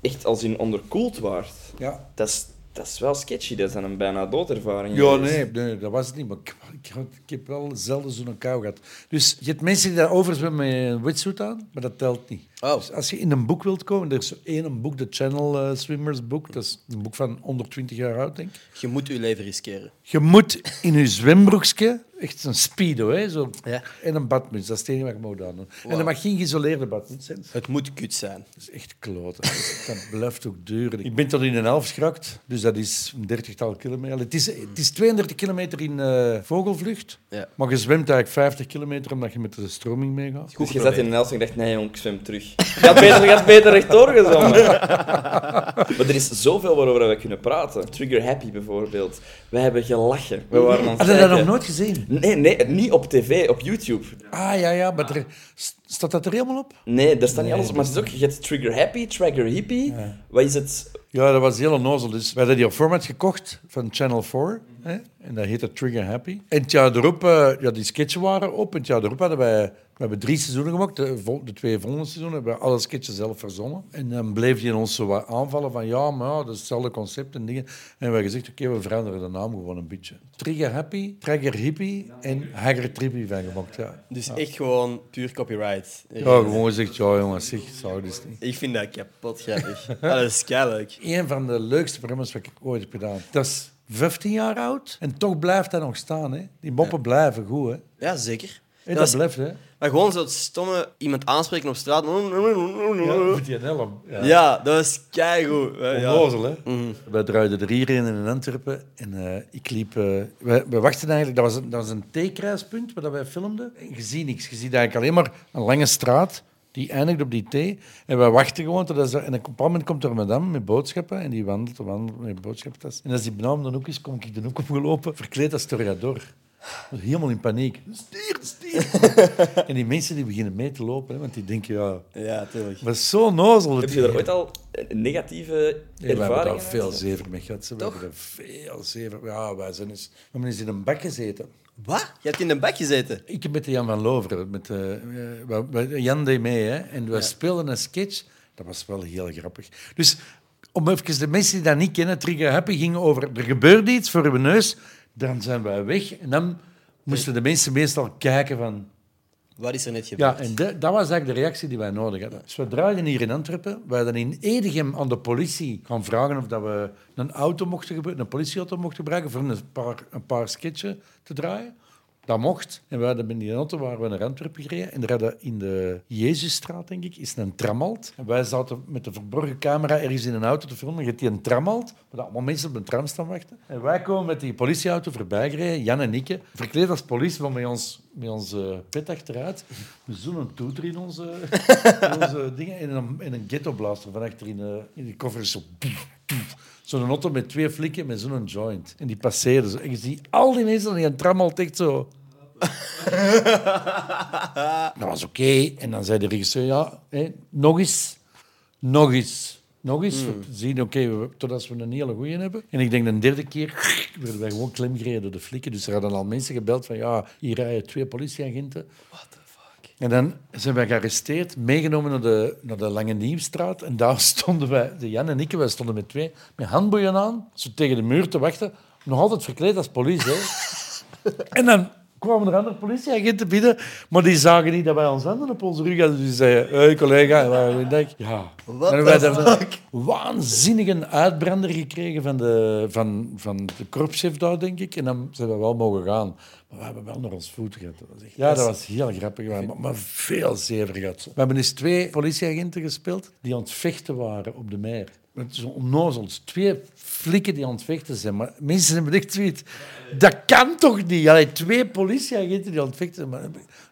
S4: echt als in onderkoeld waart.
S3: ja.
S4: Dat is, dat is wel sketchy, dat is dan een bijna doodervaring.
S3: Ja,
S4: Dus-
S3: nee, nee, dat was het niet. Maar ik, ik, had- ik heb wel zelden zo'n kou gehad. Dus je hebt mensen die daar overzwemmen met een wetsuit aan, maar dat telt niet.
S1: Oh.
S3: Dus als je in een boek wilt komen, er is zo één een boek, de Channel eh, Swimmers boek. Dat is een boek van 120 jaar oud, denk ik.
S1: Je moet je leven riskeren.
S3: Je moet in je zwembroekje, echt een speedo, hè, zo,
S1: Ja.
S3: en een badmuts. Dat is het enige wat ik moet aan doen. En dat mag geen geïsoleerde badmuts zijn.
S1: Het moet kut zijn.
S3: Dat is echt kloten. Dat blijft ook duren. Ik ben tot in een half geschrakt, dus dat is een dertigtal kilometer. Het is, het is 32 kilometer in eh, vogelvlucht,
S1: Ja.
S3: maar je zwemt eigenlijk 50 kilometer omdat je met de stroming meegaat.
S1: Goed
S4: Dus je
S1: geprobeerd.
S4: zat in Nelson en dacht, nee jong, ik zwem terug. Ik had beter, ik had beter rechtdoor gezongen. maar er is zoveel waarover we kunnen praten. Trigger Happy bijvoorbeeld. We hebben gelachen. We waren aan het
S3: Had je dat
S4: kijken.
S3: nog nooit gezien?
S4: Nee, nee, niet op tv, op YouTube.
S3: Ah ja, ja, maar er, st- staat dat er helemaal op?
S4: Nee, daar staat niet alles op. Maar het is ook, je hebt Trigger Happy, Trigger Hippie. Wat is het?
S3: Ja, dat was heel onnozel. Dus we hadden die op format gekocht van Channel 4. Hè? En dat heette Trigger Happy. En het jaar erop, eh, ja, die sketchen waren op. En het jaar erop hadden wij... We hebben drie seizoenen gemaakt. De, vol- de twee volgende seizoenen hebben we alle sketchen zelf verzonnen. En dan bleef die in ons zo wat aanvallen van... Ja, maar ja, dat is hetzelfde concept en dingen. En we hebben gezegd, oké, we veranderen de naam gewoon een beetje. Trigger Happy, Trigger Hippie en Hagger Trippy van gemaakt, ja.
S1: Dus echt gewoon puur copyright.
S3: Ja, gewoon gezegd, ja jongens, zeg, zou dus niet.
S1: Ik vind dat kapot grappig. Ah, dat is keileuk.
S3: een van de leukste programma's wat ik ooit heb gedaan. Dat is 15 jaar oud en toch blijft dat nog staan. Hè? Die moppen blijven goed. Hè? En
S1: Ja, zeker.
S3: dat
S1: Dat is-
S3: blijft, hè?
S1: maar gewoon zo'n stomme iemand aanspreken op straat. Ja,
S3: die helm. Ja.
S1: dat is keigoed. Ja, ja.
S3: Onnozel, hè?
S4: Mhm.
S3: Wij draaiden er hier in in Antwerpen en eh, ik liep... eh, we, we wachten eigenlijk... Dat was een, dat was een theekruispunt waar dat wij filmden. En je ziet niks. Je ziet eigenlijk alleen maar een lange straat die eindigt op die thee. En wij wachten gewoon. Totdat ze, en op een bepaald moment komt er een madame met boodschappen en die wandelt en wandelt met boodschappentas. En als die benauwd dan ook is, kom ik de hoek opgelopen, verkleed als toreador. Ik was Helemaal in paniek. Stier, stier, hier. en die mensen die beginnen mee te lopen, hè, want die denken, ja,
S1: Ja, tuurlijk.
S3: maar zo nozel.
S4: Heb je daar ooit al een negatieve
S3: Nee, we hebben
S4: ervaring
S3: daar veel zever mee gehad. ze. We hebben daar veel zever... Ja, wij zijn eens, we hebben eens in een bak gezeten.
S1: Wat? Je hebt in een bak gezeten?
S3: Ik heb met de Jan van Loveren, met, eh, eh, wa- wa- Jan deed mee, hè, en we speelden een sketch. Dat was wel heel grappig. Dus om even de mensen die dat niet kennen, Trigger Happy ging over, er gebeurde iets voor hun neus, dan zijn wij weg. En dan moesten de mensen meestal kijken van...
S1: Wat is er net gebeurd?
S3: Ja, en de- dat was eigenlijk de reactie die wij nodig hadden. Dus we draaiden hier in Antwerpen. We hadden in Edegem aan de politie gaan vragen of dat we een auto mochten gebruiken, een politieauto mochten gebruiken voor een paar, een paar sketchen te draaien. Dat mocht. En we hadden in die auto waren we naar Antwerpen gereden. En daar hadden in de Jezusstraat, denk ik, is een tramalt. En wij zaten met de verborgen camera ergens in een auto te filmen. Je hebt die een tramalt, waar allemaal mensen op een tram staan wachten. En wij komen met die politieauto voorbij gereden, Jan en ik, verkleed als politie, maar met ons, met onze pet achteruit. We zoenen toeter in onze, in onze dingen. En een, en een ghettoblaster van achter in de, in de koffer. Zo poef, poef. Zo'n auto met twee flikken met zo'n joint. En die passeren zo. En je ziet al die mensen die een tramalt echt zo... Dat was oké. En dan zei de regisseur, ja, hè, nog eens. Nog eens. Nog eens. We Zien, oké, we- totdat we een hele goeie hebben. En ik denk de derde keer werden wij gewoon klemgereden door de flikken. Dus er hadden al mensen gebeld van, ja, hier rijden twee politieagenten. En dan zijn wij gearresteerd, meegenomen naar de, naar de Lange Nieuwstraat. En daar stonden wij, de Jan en ik, wij stonden met twee, met handboeien aan, zo tegen de muur te wachten. Nog altijd verkleed als politie. hè. En dan kwamen er andere politieagenten binnen, maar die zagen niet dat wij ons handen op onze rug hadden. Dus die zeiden, hé hey, collega, en wij- ik denk, ja.
S1: What
S3: En wij
S1: the
S3: daarna
S1: fuck?
S3: waanzinnige uitbrander gekregen van de, van, van de korpschef daar, denk ik. En dan zijn we wel mogen gaan. Maar we hebben wel naar ons voeten gehad. Dat was echt- ja, dat was heel grappig. We hebben maar veel zever gehad. We hebben eens twee politieagenten gespeeld die aan het vechten waren op de meer. Met zo'n onnozels. Twee flikken die aan het vechten zijn. Maar mensen hebben echt zoiets... Dat kan toch niet? Allee, twee politieagenten die aan het vechten zijn. Maar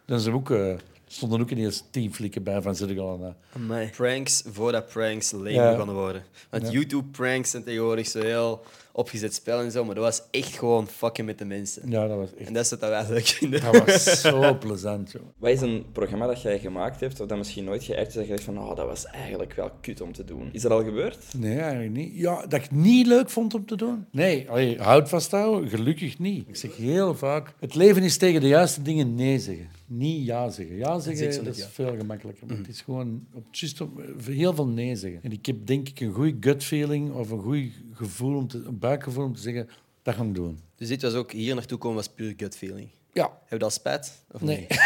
S3: dan zijn we ook... eh, stonden ook ineens tien flikken bij van Zittegal. en, eh,
S1: Amai. Pranks voordat pranks lame
S3: Ja.
S1: begonnen worden. Want YouTube-pranks zijn tegenwoordig zo heel opgezet spel en zo, maar dat was echt gewoon fucking met de mensen.
S3: Ja, dat was echt...
S1: En dat is wat wij leuk vinden.
S3: Dat was zo plezant, joh.
S4: Wat is een programma dat jij gemaakt hebt, of dat misschien nooit geëikt is, dat je dacht van, oh, dat was eigenlijk wel kut om te doen. Is dat al gebeurd?
S3: Nee, eigenlijk niet. Ja, dat ik het niet leuk vond om te doen. Nee, allee, houd vasthouden, gelukkig niet. Ik zeg heel vaak, het leven is tegen de juiste dingen nee zeggen. Niet ja zeggen. Ja Mm.
S1: zeg ik zo
S3: zeggen, dat
S1: net,
S3: is
S1: ja.
S3: veel gemakkelijker. Maar het is gewoon op, just op, eh, heel veel nee zeggen. En ik heb denk ik een goede gut feeling of een goed gevoel, om te, een buikgevoel om te zeggen, dat gaan we doen.
S1: Dus dit was ook hier naartoe komen, was puur gut feeling.
S3: Ja.
S1: Heb je dat spijt? Of
S3: Nee.
S1: niet?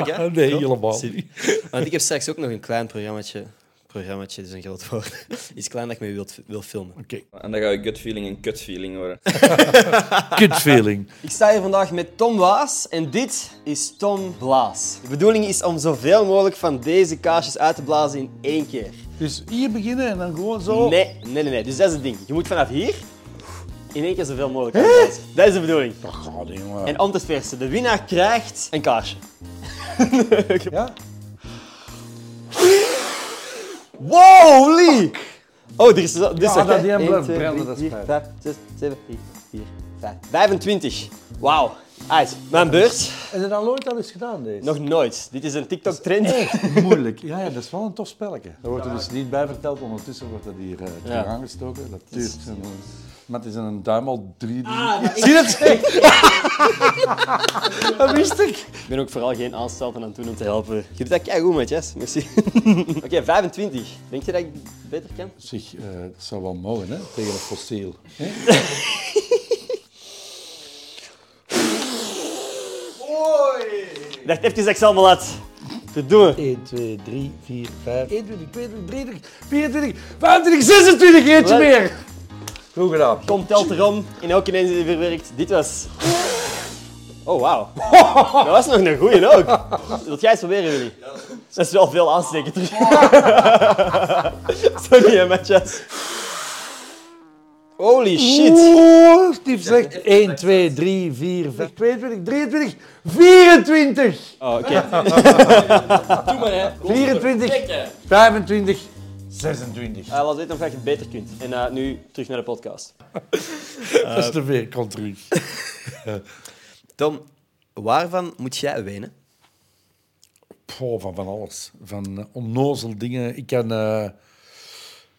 S1: Oké. Oké,
S3: nee,
S1: klopt.
S3: helemaal
S1: Zie-
S3: niet.
S1: Want ik heb straks ook nog een klein programmaatje. Programmaatje is een groot woord. Iets klein dat ik mee wil, wil filmen.
S3: Oké.
S4: En dan ga je gut feeling en kut feeling horen.
S3: Gut feeling.
S1: Ik sta hier vandaag met Tom Waas en dit is Tom Blaas. De bedoeling is om zoveel mogelijk van deze kaasjes uit te blazen in één keer.
S3: Dus hier beginnen en dan gewoon zo.
S1: Nee, nee, nee, nee. Dus dat is het ding. Je moet vanaf hier in één keer zoveel mogelijk uitblazen. Dat is de bedoeling.
S3: Dat gaat, Oh, jongen.
S1: En om te versen, de winnaar krijgt een kaasje.
S3: Ja?
S1: Wow, Lee! Oh, er is zo. Dus
S3: Ja, dat die hem blijft branden, dat is fijn.
S1: 5, 6, 7, 4, 5, 25. Wauw. Uit, mijn beurt.
S3: Is het al ooit al eens gedaan, deze?
S1: Nog nooit. Dit is een TikTok-trend.
S3: Echt moeilijk. Ja, ja, dat is wel een tof spelletje. Daar wordt er dus niet bij verteld. Ondertussen wordt dat hier eh terug aangestoken. Dat duurt. zo'n- Maar het is een duim al drie. Zie je dat? dat wist ik.
S1: Ik ben ook vooral geen aanstelten aan het doen om te helpen. Je doet dat kei goed met Jess, merci. Oké, 25. Denk je dat ik beter kan?
S3: Zich, eh, dat zou wel mogen, hè? Tegen een fossiel. Hè?
S1: Ik dacht even dat ik ze allemaal had. Verdomme.
S3: 1, 2, 3, 4, 5. 21, 22, 23, 24, 25, 26. Eentje
S1: Wat?
S3: meer. Goed gedaan.
S1: Kom, telt erom. In elke ineens die verwerkt. Dit was... Oh, wauw. Dat was nog een goeie ook. Wilt jij eens proberen, Willy? Dat is wel veel aansteken terug. Sorry, hè, Matjas. Holy shit.
S3: Oeh, Steve zegt 1, 2, 3, 4, 5, 22, 23, 24.
S1: Oh, oké.
S3: 24, 25, 26.
S1: Hij laat weten of je het beter kunt. En eh, nu terug naar de podcast.
S3: Dat is te veel, komt terug.
S1: Tom, Waarvan moet jij wenen?
S3: Poh, van van alles. Van eh, onnozel dingen. Ik kan... eh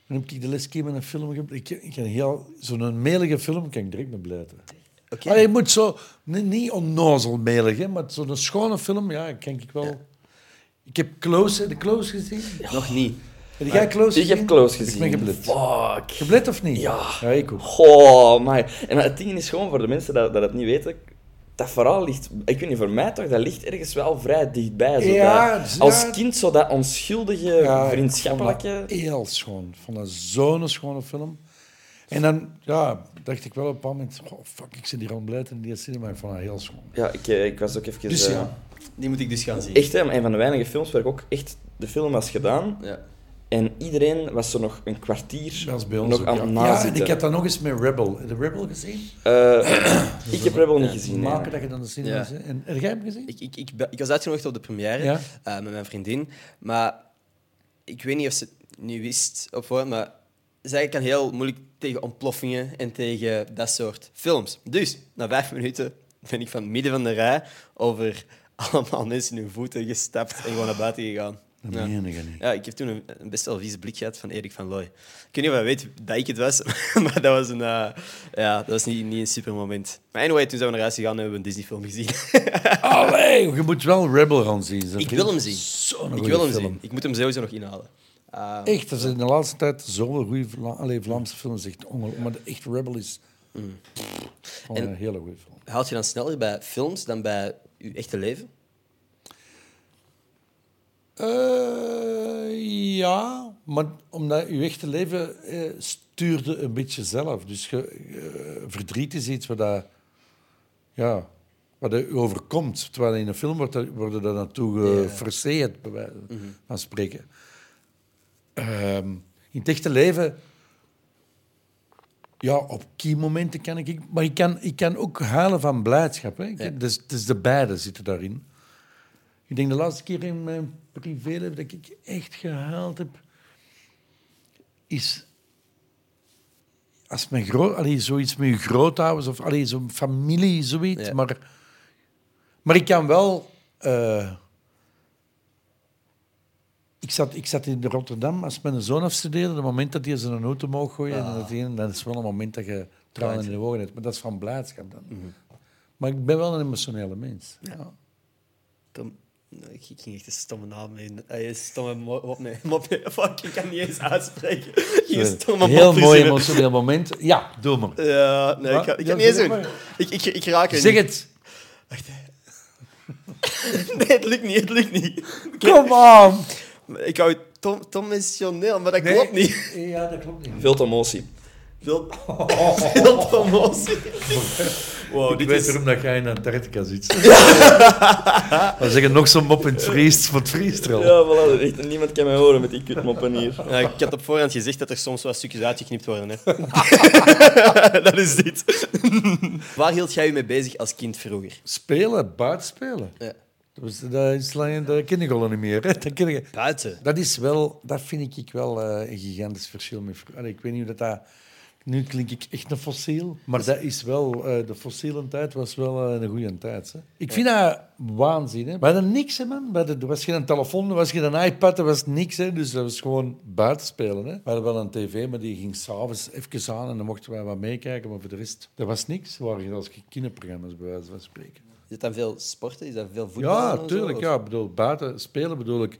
S3: dan heb ik de les keer met een film... ge- Ik, ik kan heel... Zo'n melige film kan ik direct mee blijten.
S1: Oké.
S3: Allee, je moet zo... Niet, niet onnozel melig, hè, maar zo'n schone film, ja, kan ik wel... Ik heb Close, de Close gezien.
S1: Nog niet.
S3: Heb jij Close
S4: Ik
S3: gezien?
S4: heb Close gezien.
S3: Ik ben geblit.
S4: Fuck.
S3: Geblit of niet? Ja. ik ook.
S4: Goh, maar. En maar het ding is gewoon voor de mensen dat, dat het niet weten. Dat verhaal ligt, ik weet niet, voor mij toch, dat ligt ergens wel vrij dichtbij. Zo
S3: Ja,
S4: dat-
S3: ja.
S4: Als kind zo dat onschuldige,
S3: Ja, Ik
S4: vriendschappelijke...
S3: vond dat heel schoon. Ik vond dat zo'n schone film. En dan ja, dacht ik wel op een bepaald moment... Oh, fuck, ik zit hier al blij in die cinema. Ik vond dat heel schoon.
S4: Ja, ik, eh, ik was ook even...
S3: Dus
S4: eh,
S3: ja.
S1: Die moet ik dus gaan zien.
S4: Echt, hè, een van de weinige films waar ik ook echt de film was gedaan.
S1: Ja.
S4: En iedereen was zo nog een kwartier
S3: Dat is bij ons
S4: Dus
S3: ook,
S4: nog aan
S3: ja.
S4: het
S3: ja,
S4: nazitten.
S3: en ik heb dat nog eens met Rebel. Heb je Rebel gezien?
S4: Eh, ik heb Rebel niet gezien. nee.
S3: Maken dat je dan de cinema
S1: Ja.
S3: zit. En heb jij hem gezien?
S1: Ik, ik, ik, be- ik was uitgenodigd op de première
S3: Ja.
S1: eh, met mijn vriendin. Maar ik weet niet of ze het nu wist op voorhand, maar zij kan heel moeilijk tegen ontploffingen en tegen dat soort films. Dus na vijf minuten ben ik van het midden van de rij over allemaal mensen hun voeten gestapt en gewoon naar buiten gegaan.
S3: Dat
S1: Ja.
S3: meen je niet.
S1: Ja, ik heb toen een, een best wel vieze blik gehad van Erik van Looy. Ik weet niet of hij weet dat ik het was, maar dat was, een, eh, ja, dat was niet, niet een super moment. Maar anyway, toen zijn we naar huis gegaan en hebben we een Disney-film gezien.
S3: Allee, je moet wel Rebel gaan zien. zeg.
S1: Ik wil hem zien.
S3: Zo'n
S1: Ik
S3: goeie
S1: wil hem
S3: film.
S1: zien. Ik moet hem sowieso nog inhalen. Ah,
S3: Echt, er zijn in de laatste tijd zoveel goede Vla allee, Vlaamse films. Echt ongelooflijk. Maar de echt Rebel is gewoon
S1: Mm. En-
S3: een hele goede film.
S1: Haalt je dan sneller bij films dan bij je echte leven?
S3: Eh, ja, maar omdat uw echte leven eh, stuurde een beetje zelf. Dus ge, eh, verdriet is iets wat, dat, ja, wat dat u overkomt. Terwijl in een film wordt dat, worden daar naartoe geforceerd, bij wijze van spreken. Ehm, in het echte leven, ja, op momenten kan ik... Maar ik kan, ik kan ook huilen van blijdschap. Hè. Ik- Dus, dus de beide zitten daarin. Ik denk de laatste keer in mijn privéleven dat ik echt gehaald heb, is als mijn groot, allee, zoiets met je grootouders of allee, zo'n familie, zoiets.
S1: Ja.
S3: Maar, maar ik kan wel. eh, ik zat, ik zat in Rotterdam als mijn zoon afstudeerde. Het moment dat hij zijn auto mocht gooien, en dat, ene, dat is wel een moment dat je tranen in de ogen hebt. Maar dat is van blijdschap dan. Maar ik ben wel een emotionele mens. Ja.
S1: Kom. Nee, Ik ik ging echt een stomme naam in. Eh, Een stomme mo- mop. Nee, mop. Fuck, ik kan niet eens uitspreken. Ik ging een stomme mop
S3: Heel mooi
S1: verzinnen.
S3: emotioneel moment. Ja, doe maar.
S1: Ja, nee, ik ga, ik ga
S3: Ja,
S1: niet eens
S3: zeg
S1: doen.
S3: maar.
S1: Ik, ik, ik raak er
S3: Zeg
S1: niet.
S3: het.
S1: Nee, het lukt niet, het lukt niet.
S3: Kom on.
S1: Ik hou het tom, tommensioneel, maar dat klopt niet.
S3: Ja, dat klopt
S1: Oh,
S3: niet.
S4: Veel te emotie.
S1: Veel, veel promotie. Wow,
S3: Ik
S1: dit
S3: weet
S1: is...
S3: erom dat jij in Antarctica zit. Dan zeg je nog zo'n mop in het vries, van het vriest er al.
S4: Ja, voilà, echt, niemand kan mij horen met die kutmoppen hier.
S1: Ja, ik had op voorhand gezegd dat er soms wat stukjes uitgeknipt worden. Hè. dat is dit. Waar hield jij je mee bezig als kind vroeger?
S3: Spelen, buiten spelen.
S1: Ja.
S3: Dat, was, dat is lang, dat ken ik al niet meer. Hè. Dat, ken ik-
S1: Buiten.
S3: dat is wel, dat vind ik wel eh, een gigantisch verschil. Met, vro- Allee, ik weet niet hoe dat, dat... Nu klink ik echt een fossiel, maar dat is wel, eh, de fossiele tijd was wel eh, een goede tijd. Hè. Ik vind dat waanzin. Hè. We hadden niks, hè, man. We hadden- er was geen telefoon, er was geen iPad, er was niks. Hè. Dus dat was gewoon buiten spelen. Hè. We hadden wel een tv, maar die ging s'avonds even aan en dan mochten wij wat meekijken. Maar voor de rest, dat was niks. Het waren als kinderprogramma's, bij wijze van spreken.
S1: Is dat dan veel sporten? Is dat veel voetbal? en
S3: Ja,
S1: zo?
S3: tuurlijk.
S1: Of-
S3: Ja, Ik bedoel, buiten spelen bedoel ik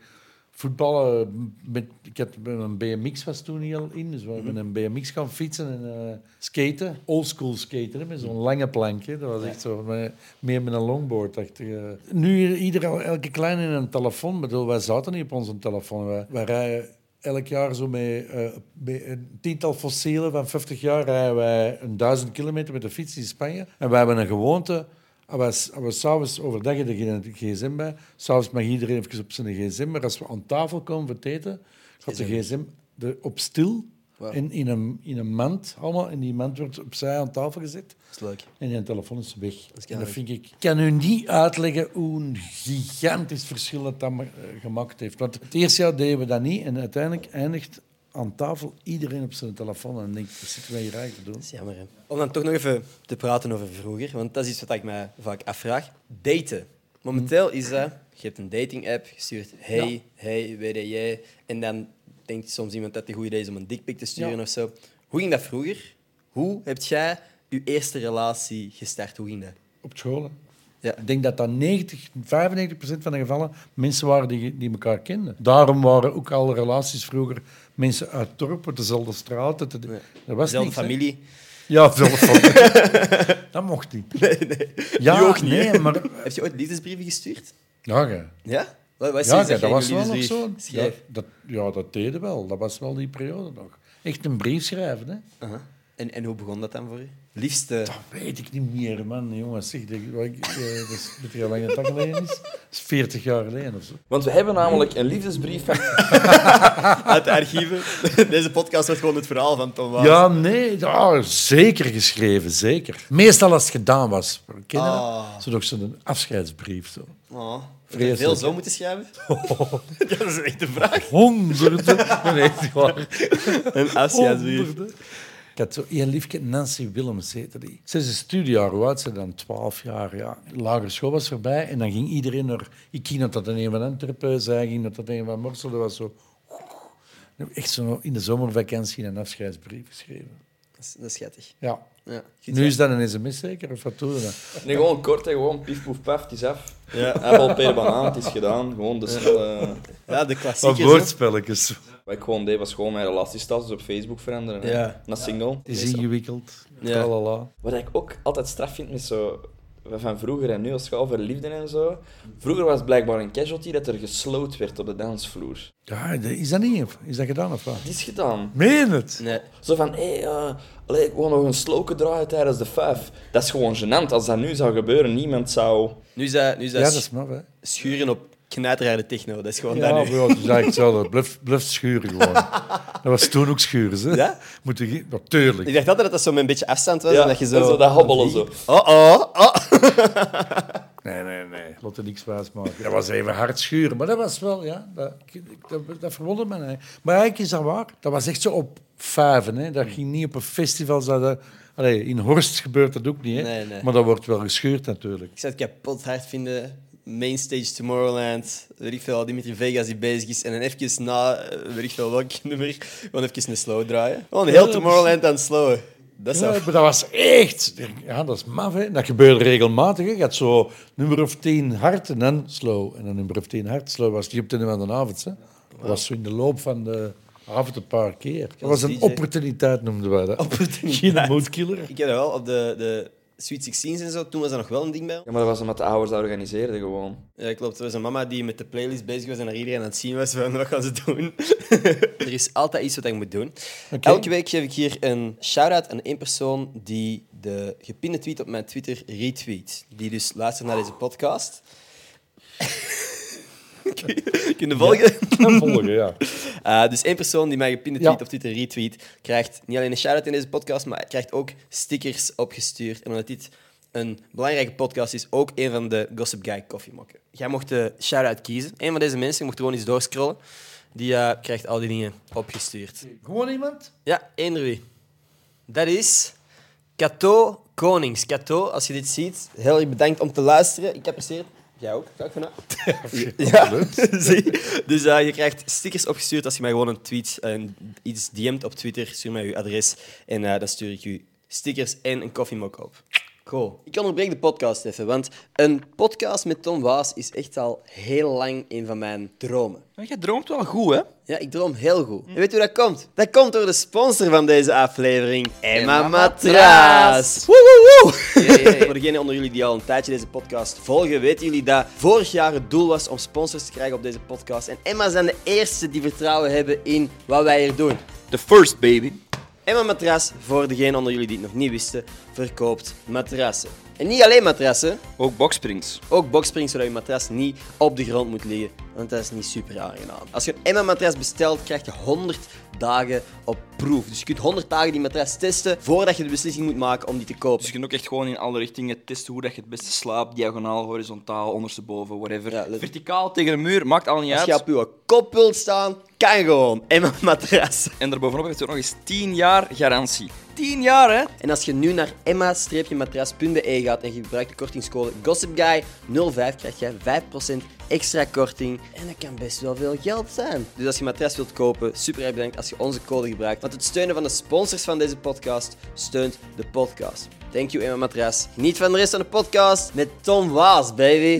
S3: voetballen. m- Met, ik had een BMX was toen heel in, dus we hebben een BMX gaan fietsen en eh, skaten. Oldschool skaten, hè, met zo'n lange plankje. Dat was echt zo, met- meer met een longboard. Dacht ik, eh. Nu ieder, elke kleine in een telefoon. Ik bedoel, wij zaten niet op onze telefoon. Wij, wij rijden elk jaar zo met, eh, met een tiental fossielen van 50 jaar rijden wij een duizend kilometer met de fiets in Spanje. En wij hebben een gewoonte als we ah, s'avonds overdag er geen gsm bij. S'avonds mag iedereen even op zijn gsm. Maar als we aan tafel komen voor het eten, gaat de gsm er op stil.
S1: Wauw.
S3: En in een, in een mand allemaal. En die mand wordt opzij aan tafel gezet.
S1: Dat is leuk.
S3: En die telefoon is weg. Dat, en dat
S1: keihardig.
S3: vind ik... Ik kan u niet uitleggen hoe een gigantisch verschil dat, dat ma- eh, gemaakt heeft. Want het eerste jaar deden we dat niet. En uiteindelijk eindigt aan tafel iedereen op zijn telefoon en denkt, wat zitten wij hier eigenlijk te doen?
S1: Dat is jammer. hè. Om dan toch nog even te praten over vroeger, want dat is iets wat ik mij vaak afvraag. Daten. Momenteel is dat, je hebt een dating-app, je stuurt hey, hey, weet jij, en dan denkt soms iemand dat het een goed idee is om een dikpik te sturen
S3: Ja.
S1: of zo. Hoe ging dat vroeger? Hoe heb jij je eerste relatie gestart? Hoe ging dat?
S3: Op scholen.
S1: Ja.
S3: Ik denk dat dat 90, 95% van de gevallen mensen waren die, die elkaar kenden. Daarom waren ook al relaties vroeger mensen uit dorpen, dezelfde straat. Dat, dat was
S1: Zelfde
S3: niks, hè.
S1: familie?
S3: Ja, zelfde familie. dat mocht niet.
S1: Nee, nee.
S3: Ja,
S1: Die ook niet,
S3: nee,
S1: hè?
S3: maar...
S1: Heb je ooit liefdesbrieven gestuurd?
S3: Ja, gij.
S1: Ja? Wat was
S3: Ja,
S1: iets
S3: ja, dat
S1: jij
S3: was
S1: in
S3: wel
S1: een
S3: nog
S1: liefdesbrief
S3: zo. Ja,
S1: schreef?
S3: dat, ja, dat deden wel. Dat was wel die periode nog. Echt een brief schrijven, hè?
S1: Aha. En, en hoe begon dat dan voor je? Liefste...
S3: Dat weet ik niet meer, man. Jongens, zeg, dat, wat ik- eh, dat is weet je hoe lang dat dat geleden is? Dat is 40 jaar geleden of zo.
S4: Want we hebben namelijk een liefdesbrief van
S1: uit de archieven. Deze podcast wordt gewoon het verhaal van Tom Waas.
S3: Ja, nee. ja, zeker geschreven, zeker. Meestal als het gedaan was. Voor kinderen,
S1: Ah.
S3: zo nog zo'n afscheidsbrief. Zo.
S1: Oh, heb je
S3: Vreselijk.
S1: veel zo moeten schrijven? ja, dat is echt een vraag.
S3: Honderden. Nee, echt waar.
S1: Een afscheidsbrief.
S3: Honderden. Ik had zo één liefje, Nancy Willems heette die. Ze is een studiejaar, hoe oud ze dan? Twaalf jaar, ja. Lagere school was voorbij en dan ging iedereen naar... Ik ging naar dat een van Antwerpen, zij ging naar dat een van Morsel. Dat was zo... Echt zo in de zomervakantie een afscheidsbrief geschreven.
S1: Dat is, dat is schattig.
S3: Ja.
S1: Ja,
S3: Nu is dat een sms zeker, of wat doe je dan?
S4: Nee, gewoon kort, hè. gewoon pief, poef, paf, het is af.
S1: Ja.
S4: Appel, per, banaan, het is gedaan. Gewoon de snelle...
S1: ja de klassieke.
S3: Van
S1: zo.
S3: woordspelletjes.
S4: Wat ik gewoon deed, was gewoon mijn relatiestatus op Facebook veranderen. hè.
S1: Ja.
S4: Naar single.
S3: Het is ingewikkeld.
S1: Ja.
S3: Tralala.
S4: Wat ik ook altijd straf vind met zo... Van vroeger en nu als het gaat over liefde en zo. Vroeger was het blijkbaar een casualty dat er gesloopt werd op de dansvloer.
S3: Ja, dat- is dat niet? Is dat gedaan of wat?
S4: Het is gedaan.
S3: Meen het?
S1: Nee.
S4: Zo van, hé, hey, eh, allee, ik wil nog een sloken draaien tijdens de vijf. Dat is gewoon gênant. Als dat nu zou gebeuren, niemand zou...
S1: Nu is dat, nu is dat
S3: Ja, dat is maf, hè?
S1: schuren op knijterharde techno. Dat is gewoon
S3: Ja, maar
S1: dat
S3: ja,
S1: nu.
S3: dat is eigenlijk hetzelfde. Bluf, bluf schuren gewoon. dat was toen ook schuren, hè?
S1: Ja?
S3: Moet je, ge-
S1: Ik
S3: natuurlijk.
S1: dacht altijd dat dat zo met een beetje afstand was. en dat je zo...
S4: en dat hobbelen zo.
S1: Oh, oh, oh.
S3: Nee, nee, nee. Laat er niks wijs maken. Dat was even hard schuren, maar dat was wel, ja. Dat, ik- dat, dat verwondert me eigenlijk. Maar eigenlijk is dat waar. Dat was echt zo op vijven, hè? Dat ging niet op een festival. Dat, dat- allee, in Horst gebeurt dat ook niet, hè?
S1: Nee, nee.
S3: Maar dat wordt wel geschuurd, natuurlijk.
S1: Ik zou het kapot hard vinden. Mainstage Tomorrowland, weet ik veel, Dimitri Vegas die bezig is. En dan even na, eh, weet ik veel welk nummer, gewoon even een slow draaien. Gewoon
S3: Ja,
S1: heel
S3: dat is-
S1: Tomorrowland aan het slowen. Dat
S3: Ja,
S1: zou...
S3: maar dat was echt... Ja, dat is maf, hè. Dat gebeurde regelmatig, hè. Je had zo nummer of tien hard en dan slow. En dan nummer of tien hard slow was die op het einde van de avond, hè. Dat was zo in de loop van de avond een paar keer. Dat was een
S1: DJ.
S3: opportuniteit, noemden wij dat. Geen moodkiller.
S1: Ik heb dat wel op de, de Sweet Sixteens en zo. Toen was dat nog wel een ding bij.
S4: Ja, maar dat was omdat de ouders dat organiseerden gewoon.
S1: Ja, klopt. Er was een mama die met de playlist bezig was en naar iedereen aan het zien was van wat gaan ze doen. er is altijd iets wat ik moet doen.
S3: Oké.
S1: Elke week geef ik hier een shout-out aan één persoon die de gepinde tweet op mijn Twitter retweet. Die dus luistert naar deze podcast. Kunnen volgen?
S3: Volgen, ja.
S1: Eh, dus één persoon die mij gepinde tweet
S3: Ja.
S1: op Twitter retweet, krijgt niet alleen een shout-out in deze podcast, maar krijgt ook stickers opgestuurd. En omdat dit een belangrijke podcast is, ook een van de Gossip Guy koffiemokken. Jij mocht de shout-out kiezen. Een van deze mensen, je mocht gewoon eens doorscrollen, die eh, krijgt al die dingen opgestuurd.
S3: Gewoon iemand?
S1: Ja, één wie. Dat is Cato Konings. Cato, als je dit ziet, heel erg bedankt om te luisteren. Ik apprecieer het. Jij ook, ga ik vanuit. Ja, zie. Dus eh, je krijgt stickers opgestuurd als je mij gewoon een tweet, een, iets DM't op Twitter. Stuur mij je adres en eh, dan stuur ik je stickers en een koffiemok op. Cool. Ik onderbreek de podcast even, want een podcast met Tom Waas is echt al heel lang een van mijn dromen.
S4: jij droomt wel goed, hè?
S1: Ja, ik droom heel goed. En weet je hoe dat komt? Dat komt door de sponsor van deze aflevering, Emma Matraas. Woe, woe, woe. Voor degenen onder jullie die al een tijdje deze podcast volgen, weten jullie dat vorig jaar het doel was om sponsors te krijgen op deze podcast. En Emma zijn de eerste die vertrouwen hebben in wat wij hier doen.
S4: The first, baby.
S1: Emma Matras, voor degenen onder jullie die het nog niet wisten, verkoopt matrassen. En niet alleen matrassen,
S4: Ook boxsprings.
S1: ook boxsprings, zodat je matras niet op de grond moet liggen. want dat is niet super aangenaam. Als je een Emma-matras bestelt, krijg je 100 dagen op proef. Dus je kunt 100 dagen die matras testen voordat je de beslissing moet maken om die te kopen.
S5: Dus je kunt ook echt gewoon in alle richtingen testen hoe dat je het beste slaapt. Diagonaal, horizontaal, ondersteboven, whatever.
S1: Ja, let-
S5: Verticaal, tegen een muur, maakt al niet
S1: Als
S5: uit.
S1: je op je kop wilt staan, kan gewoon. Emma-matras.
S5: En daarbovenop heeft het ook nog eens 10 jaar garantie. 10 jaar, hè?
S1: En als je nu naar emma-matras.be gaat en je gebruikt de kortingscode GossipGuy05, krijg je 5% extra korting. En dat kan best wel veel geld zijn. Dus als je een matras wilt kopen, super erg bedankt als je onze code gebruikt. Want het steunen van de sponsors van deze podcast steunt de podcast. Thank you, Emma Matras. Geniet van de rest van de podcast met Tom Waas, baby.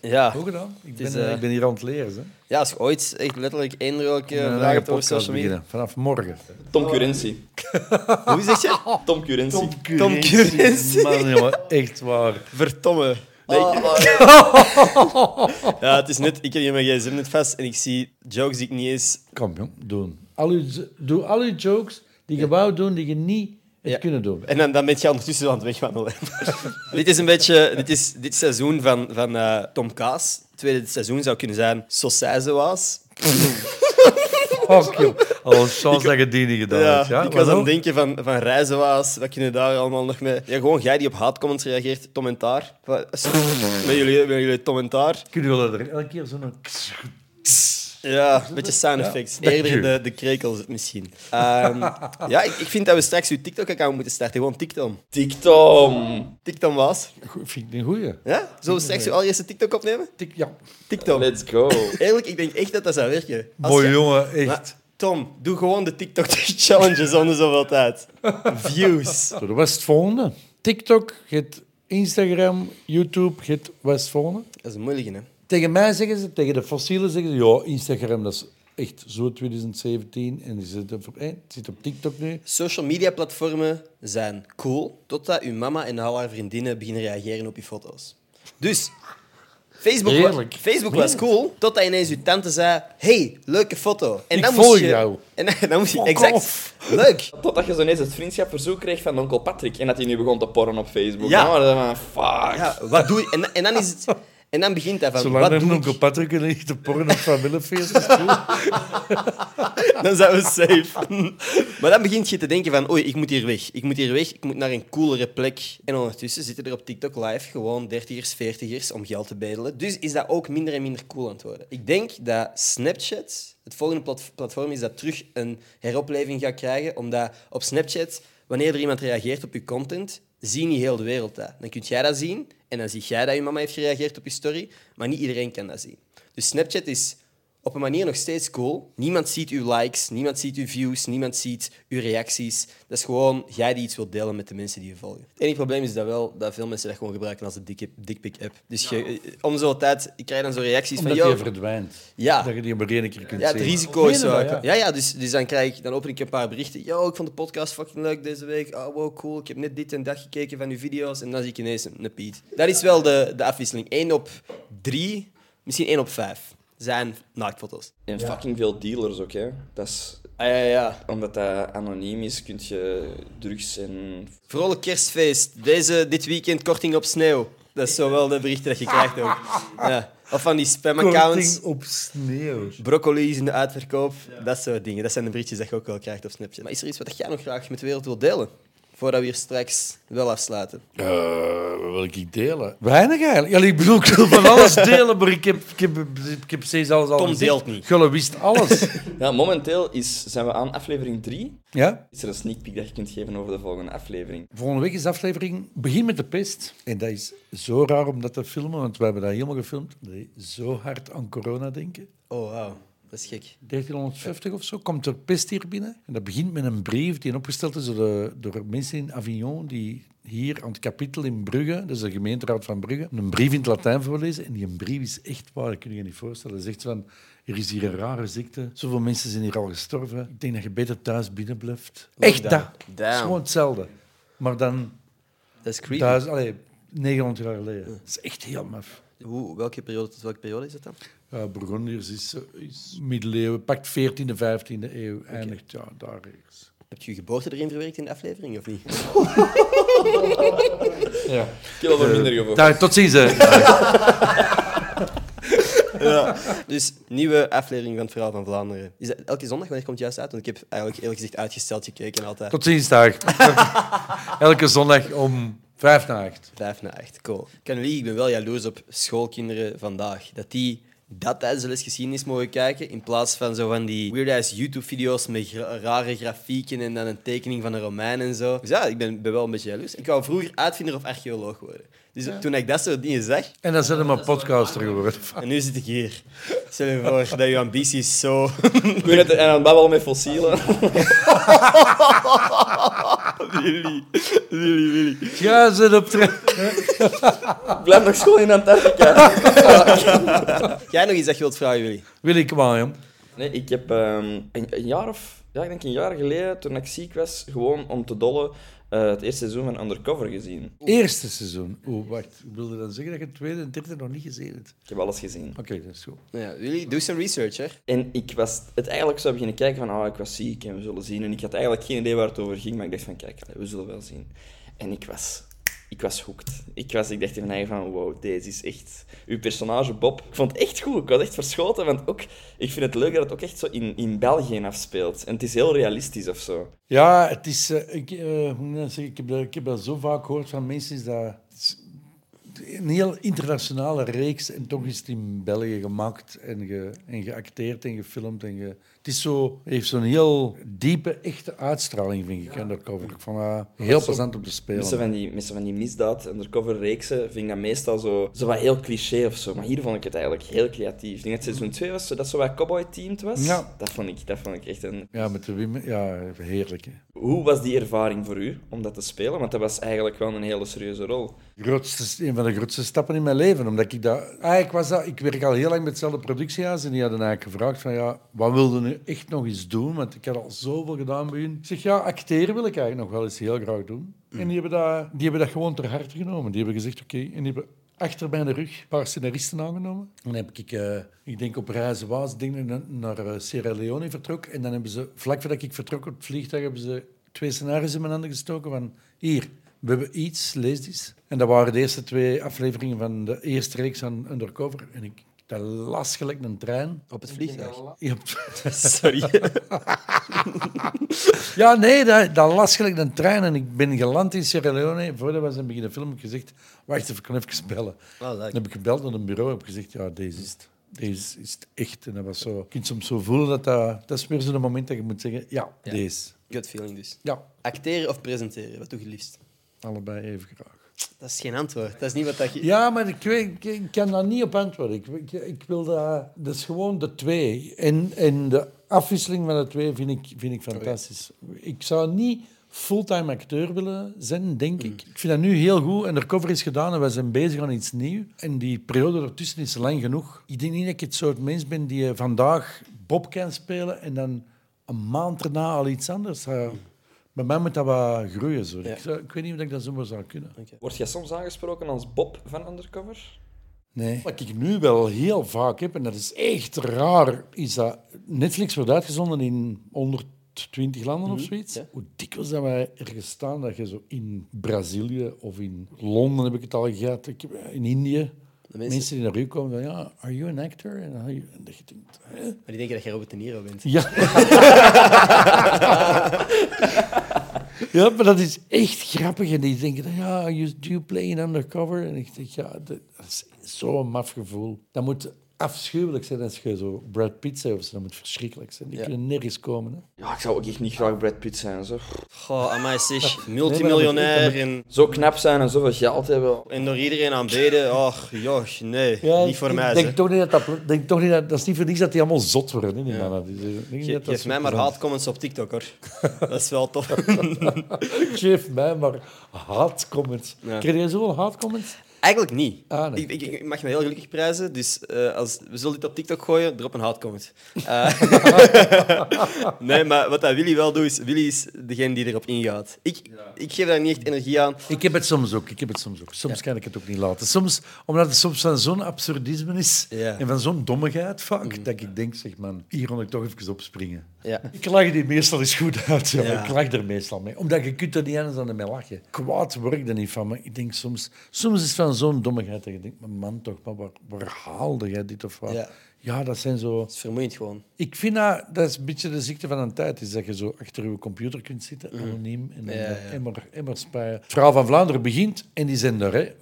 S1: Ja.
S3: Hoe gedaan? Ik ben,
S1: is,
S3: eh,
S1: eh,
S3: ik ben hier aan het leren. Hè.
S1: ja, als je ooit echt letterlijk één leuke
S3: Een
S1: vraag
S3: eigen
S1: hebt over
S3: podcast
S1: social media.
S3: beginnen, Vanaf morgen.
S4: Tom Curentie.
S1: Hoe zeg je?
S4: Tom Curentie.
S1: Tom Currency.
S3: Man, jongen, echt waar.
S1: Vertomme. Nee, ik- ja, het is net, ik heb hier mijn gsm net vast en ik zie jokes die ik niet eens...
S3: Kom, jong, doen. Al uw, z- doe al uw jokes die je wou doen, die je niet hebt
S1: Ja.
S3: kunnen doen.
S1: En dan, dan ben je ondertussen aan het wegwandelen. dit is een beetje... Dit is dit seizoen van, van eh, Tom Kaas. Het tweede seizoen zou kunnen zijn Sausagewaas.
S3: Fuck, joh. Al Oh, een chance dat je die niet gedaan
S1: Ja,
S3: hebt. Ja?
S1: Eh, ik
S3: Wat
S1: was aan
S3: ook?
S1: het denken van, van Reizenwaas. Wat kunnen daar allemaal nog mee? Ja, gewoon jij die op haatcomments reageert. Tom en Taar. Wat- Met jullie, met jullie Tom en Taar.
S3: Kunnen jullie er elke keer zo'n...
S1: Ja, een beetje sound effects.
S3: Dank
S1: Eerder
S3: u.
S1: de, de krekels misschien. Ehm, ja, ik, ik vind dat we straks uw TikTok-account moeten starten. Gewoon TikTok.
S4: TikTom.
S1: TikTok was.
S3: Goe- Vind ik een goeie.
S1: Ja? Zullen we straks uw allereerste TikTok opnemen?
S3: Tik, ja.
S1: TikTok.
S4: Let's go.
S1: Eerlijk, ik denk echt dat dat zou werken. Als
S3: Mooi
S1: je-
S3: jongen, echt.
S1: Maar, Tom, doe gewoon de TikTok-challenges onder zoveel tijd. Views.
S3: Zo, dat was het volgende. TikTok, je hebt Instagram, YouTube, je hebt wat is het volgende.
S1: Dat is een moeilijke, hè?
S3: Tegen mij zeggen ze, tegen de fossielen zeggen ze, ja, Instagram dat is echt zo 2017 en die zit op, eh, het zit op TikTok nu.
S1: Social media-platformen zijn cool, totdat uw mama en al haar vriendinnen beginnen reageren op je foto's. Dus, Facebook, wa-
S3: Heerlijk.
S1: Facebook was cool, totdat ineens uw tante zei... hey, leuke foto. En
S3: Ik
S1: dan moest
S3: volg
S1: je,
S3: jou.
S1: En dan, dan moest je...
S3: Fuck
S1: Exact.
S3: off.
S1: Leuk.
S4: Totdat je zo ineens het vriendschapverzoek kreeg van onkel Patrick en dat hij nu begon te porren op Facebook.
S1: Ja.
S4: Nou, dan dacht ik van, fuck.
S1: Ja, wat doe je? En, en dan is het... En dan begint dat van...
S3: Zolang
S1: wat
S3: er
S1: doe ik?
S3: onkel Patrick en ik de porno op familiefeest is, cool.
S1: Dan zijn we safe. maar dan begint je te denken van... Oei, ik moet hier weg. Ik moet hier weg. Ik moet naar een coolere plek. En ondertussen zitten er op TikTok live gewoon dertigers, veertigers om geld te bedelen. Dus is dat ook minder en minder cool aan het worden. Ik denk dat Snapchat... Het volgende plat- platform is dat terug een heropleving gaat krijgen. Omdat op Snapchat, wanneer er iemand reageert op je content... Zie niet heel de wereld dat. Dan kun jij dat zien. En dan zie jij dat je mama heeft gereageerd op je story. Maar niet iedereen kan dat zien. Dus Snapchat is op een manier nog steeds cool. Niemand ziet uw likes, niemand ziet uw views, niemand ziet uw reacties. Dat is gewoon jij die iets wilt delen met de mensen die je volgen. Het enige probleem is dat wel dat veel mensen dat gewoon gebruiken als een dikke- dikpik-app. Dus je, eh, om zo'n tijd ik krijg dan zo reacties
S3: Omdat
S1: van...
S3: die
S1: Yo,
S3: verdwijnt.
S1: Ja.
S3: Dat je die maar één keer kunt
S1: ja, het
S3: zien.
S1: risico is
S3: Meen je
S1: zo.
S3: dat,
S1: ja.
S3: ja?
S1: ja, dus, dus dan, krijg ik, dan open ik een paar berichten. Yo, ik vond de podcast fucking leuk deze week. Oh, wow, cool. Ik heb net dit en dat gekeken van uw video's. En dan zie ik ineens een, een Piet. Dat is wel de, de afwisseling. 1 op 3, misschien 1 op 5 zijn naaktfoto's.
S4: En fucking veel dealers ook, hè. Dat is...
S1: Ah, ja, ja.
S4: Omdat dat anoniem is, kun je drugs en...
S1: Vrolijk kerstfeest. Deze, dit weekend korting op sneeuw. Dat is zo wel de berichten dat je krijgt ook. Ja. Of van die spamaccounts.
S3: Korting op sneeuw.
S1: Broccoli is in de uitverkoop. Dat soort dingen. Dat zijn de berichtjes dat je ook wel krijgt op Snapchat. Maar is er iets wat jij nog graag met de wereld wilt delen? Voordat we hier straks wel afsluiten.
S3: Eh, wat wil ik delen? Weinig eigenlijk. Allee, ik bedoel, ik wil van alles delen, maar ik heb, ik heb, ik heb steeds alles al
S1: Tom
S3: gezegd.
S1: deelt niet.
S3: Gulle wist alles.
S4: Ja, momenteel is, zijn we aan aflevering 3.
S3: ja?
S4: Is er een sneak peek dat je kunt geven over de volgende aflevering?
S3: Volgende week is de aflevering Begin met de pest. En dat is zo raar om dat te filmen, want we hebben dat helemaal gefilmd. Nee, zo hard aan corona denken.
S1: Oh, wauw. Dat is gek.
S3: 1350 of zo, komt er pest hier binnen. En dat begint met een brief die opgesteld is door, de- door mensen in Avignon die hier aan het kapitel in Brugge, dus de gemeenteraad van Brugge, een brief in het Latijn voorlezen. En die brief is echt waar, dat kun je je niet voorstellen. Dat zegt van, er is hier een rare ziekte, zoveel mensen zijn hier al gestorven. Ik denk dat je beter thuis binnen blijft. Echt dat.
S1: Lockdown.
S3: Het is gewoon hetzelfde. Maar dan
S1: Dat is creepy.
S3: duizend, allee, 900 jaar geleden. Dat is echt heel maf.
S1: Hoe, welke, periode, tot welke periode is dat dan?
S3: Ja, Burgondiërs is, is middeleeuwen, pakt 14e, 15e eeuw, eindigt ja, daar ergens.
S1: Heb je je geboorte erin verwerkt in de aflevering of niet?
S3: Ja.
S4: Ik heb al minder gevoel.
S3: Daar, tot ziens. hè.
S1: Ja. Dus nieuwe aflevering van het Verhaal van Vlaanderen. Is dat elke zondag? Wanneer komt het juist uit? Want ik heb eigenlijk eerlijk gezegd uitgesteld gekeken altijd.
S3: Tot ziens dag. Elke zondag om vijf na acht.
S1: Vijf na acht, cool. Ik kan niet liegen, ik ben wel jaloers op schoolkinderen vandaag. Dat die dat tijdens de les geschiedenis mogen kijken, in plaats van zo van die weird-ass YouTube-video's met gra- rare grafieken en dan een tekening van een Romein en zo. Dus ja, ik ben, ben wel een beetje jaloers. Ik wou vroeger uitvinder of archeoloog worden. Dus toen ik dat soort dingen zag,
S3: En dan zijn we maar podcaster geworden.
S1: en nu zit ik hier. Stel je voor dat je ambities zo...
S4: Ik ben net aan het babbelen met fossielen.
S3: Ja, zit op trein.
S4: Blijf nog school in Antarctica.
S1: Jij nog iets dat je wilt vragen, Willy?
S3: Wil ik maar, jong.
S4: Nee, ik heb ehm, een, een jaar of... Ja, ik denk een jaar geleden, toen ik ziek was, gewoon om te dollen, eh, het eerste seizoen van Undercover gezien.
S3: Eerste seizoen. Oeh, wacht. Ik wilde dan zeggen dat je het tweede en derde nog niet gezien hebt.
S4: Ik heb alles gezien.
S3: Oké, dat is goed.
S1: Nou Ja, Willy, doe some research, hè.
S4: En ik was het eigenlijk zo beginnen kijken van, oh, ik was ziek en we zullen zien. En ik had eigenlijk geen idee waar het over ging, maar ik dacht van, kijk, we zullen wel zien. En ik was... Ik was hooked. Ik, was, ik dacht in mijn eigen van, wow, deze is echt... Uw personage Bob, ik vond het echt goed. Ik was echt verschoten, want ook... Ik vind het leuk dat het ook echt zo in, in België afspeelt. En het is heel realistisch of zo.
S3: Ja, het is. eh, ik, eh, hoe moet ik, dat zeggen? ik, heb dat, ik heb dat zo vaak gehoord van mensen. Is dat, het is een heel internationale reeks. En toch is het in België gemaakt en, ge, en geacteerd en gefilmd. En ge, het is zo, heeft zo'n heel diepe, echte uitstraling, vind ik. En dat cover. Ik vond dat heel plezant om te
S4: Meestal
S3: spelen.
S4: van die, meestal van die misdaad, undercover reeksen, vind ik dat meestal zo, zo wat heel cliché of zo. Maar hier vond ik het eigenlijk heel creatief. Ik denk dat seizoen 2 was, zo, dat zo wat cowboy-teamed was.
S3: Ja.
S4: Dat, vond ik, dat vond ik echt een...
S3: Ja, met de Wim. Ja, heerlijk. Hè.
S4: Hoe was die ervaring voor u om dat te spelen? Want dat was eigenlijk wel een hele serieuze rol.
S3: grootste, een van de grootste stappen in mijn leven. Omdat ik dat... Eigenlijk was dat... Ik werk al heel lang met hetzelfde productiehuis. En die hadden eigenlijk gevraagd van... Ja, wat wilde nu echt nog eens doen? Want ik had al zoveel gedaan bij hun. Ik zeg, ja, acteren wil ik eigenlijk nog wel eens heel graag doen. En die hebben dat, die hebben dat gewoon ter harte genomen. Die hebben gezegd, oké. En die hebben achter mijn rug een paar scenaristen aangenomen. Dan heb ik, eh, ik denk op reizen was, denk ik, na- naar eh, Sierra Leone vertrok. En dan hebben ze, vlak voordat ik vertrok op het vliegtuig, hebben ze twee scenario's in mijn handen gestoken van... Hier, we hebben iets, lees dit. En dat waren de eerste twee afleveringen van de eerste reeks aan Undercover. En ik dat las gelijk een trein.
S1: Op het vliegtuig.
S3: Ja,
S1: Sorry.
S3: Ja, nee, dat, dat las gelijk een trein. En ik ben geland in Sierra Leone. Voordat we zijn beginnen filmen, heb ik gezegd... Wacht even, ik kan even bellen.
S1: leuk.
S3: Dan heb ik gebeld naar een bureau en heb gezegd... Ja, deze is het. Deze is het echt. En dat was zo... Je kunt soms zo voelen dat dat... Dat is weer zo'n moment dat je moet zeggen... Ja, deze.
S1: Good feeling dus.
S3: Ja,
S1: Acteren of presenteren, wat doe je liefst?
S3: allebei even graag.
S1: Dat is geen antwoord. Dat is niet wat dat je...
S3: Ja, maar ik, weet- ik, ik kan daar niet op antwoorden. Ik, ik, ik wil dat... Dat is gewoon de twee. En, en de afwisseling van de twee vind ik, vind ik fantastisch. Ik zou niet fulltime acteur willen zijn, denk ik. Ik vind dat nu heel goed. En de cover is gedaan en we zijn bezig aan iets nieuws. En die periode ertussen is lang genoeg. Ik denk niet dat ik het soort mens ben die eh, vandaag Bob kan spelen en dan een maand erna al iets anders. Eh, Bij mij moet dat wat groeien. Zo. Ik, zou- ik weet niet of ik dat zomaar zou kunnen.
S4: Word jij soms aangesproken als Bob van Undercover?
S3: Nee. Wat ik nu wel heel vaak heb, en dat is echt raar, is dat Netflix wordt uitgezonden in 120 landen of zoiets. Hoe dikwijls dat wij ergens staan, dat je zo in Brazilië of in Londen heb ik het al gehad, ik heb- eh, in Indië.
S1: mensen-
S3: Mensen... die naar u komen van, ja, are you an actor? En, dan- en dat je denkt, hè?
S1: Maar die denken dat je Robert De Niro bent.
S3: Ja. ja, maar dat is echt grappig. En die denken, dan, ja, you, do you play in undercover? En ik denk, ja, dat, dat is zo'n maf gevoel. Dat moet afschuwelijk zijn als je zo Brad Pitt zegt of zo. Dat moet verschrikkelijk zijn. Die kunnen nergens komen. Hè.
S4: Ja, ik zou ook echt niet graag Brad Pitt zijn. Zo,
S1: Goh, amai zeg. Multimiljonair en,
S4: zo knap zijn en zoveel geld hebben.
S1: en door iedereen aanbeden. Och, joch, nee. niet voor
S3: ik
S1: mij
S3: denk
S1: zeg.
S3: toch niet dat, dat, denk toch niet dat... Dat is niet voor niks dat die allemaal zot worden, hè, die mannen. Dus, eh, ik denk
S1: Ge-
S3: dat dat
S1: Geef
S3: zo
S1: mij maar
S3: plezant
S1: haatcomments op TikTok, hoor. Dat is wel tof.
S3: is. Geef mij maar haatcomments.
S1: Ja.
S3: Kreeg jij zoveel haatcomments?
S1: Eigenlijk niet.
S3: Ah, nee.
S1: ik, ik, ik mag me heel gelukkig prijzen, dus eh, als, we zullen dit op TikTok gooien, drop een haatcomment. Eh, nee, maar wat dat Willy wel doet, is Willy is degene die erop ingaat. Ik, ik geef daar niet echt energie aan.
S3: Ik heb het soms ook. Ik heb het soms ook. Soms kan ik het ook niet laten. Soms, omdat het soms van zo'n absurdisme is
S1: Ja. Mm.
S3: en van zo'n dommigheid vaak, dat ik denk, zeg man, hier kon ik toch even opspringen.
S1: Ja.
S3: Ik lach die meestal eens goed uit. Ja.
S1: Ja.
S3: Ik lach er meestal mee. Omdat je kunt er niet anders dan mee lachen. Kwaad werkt er niet van, maar ik denk soms... Soms is het van dan zo'n dommigheid dat je denkt, maar man toch, maar waar, waar haalde jij dit of wat?
S1: Ja.
S3: Ja. dat zijn zo...
S1: is vermoeiend gewoon.
S3: Ik vind dat, dat is een beetje de ziekte van een tijd, is dat je zo achter je computer kunt zitten, anoniem, en dan
S1: Mm. Ja, ja.
S3: eh, immer, immer spuien. Het verhaal van Vlaanderen begint en die zijn er, hè.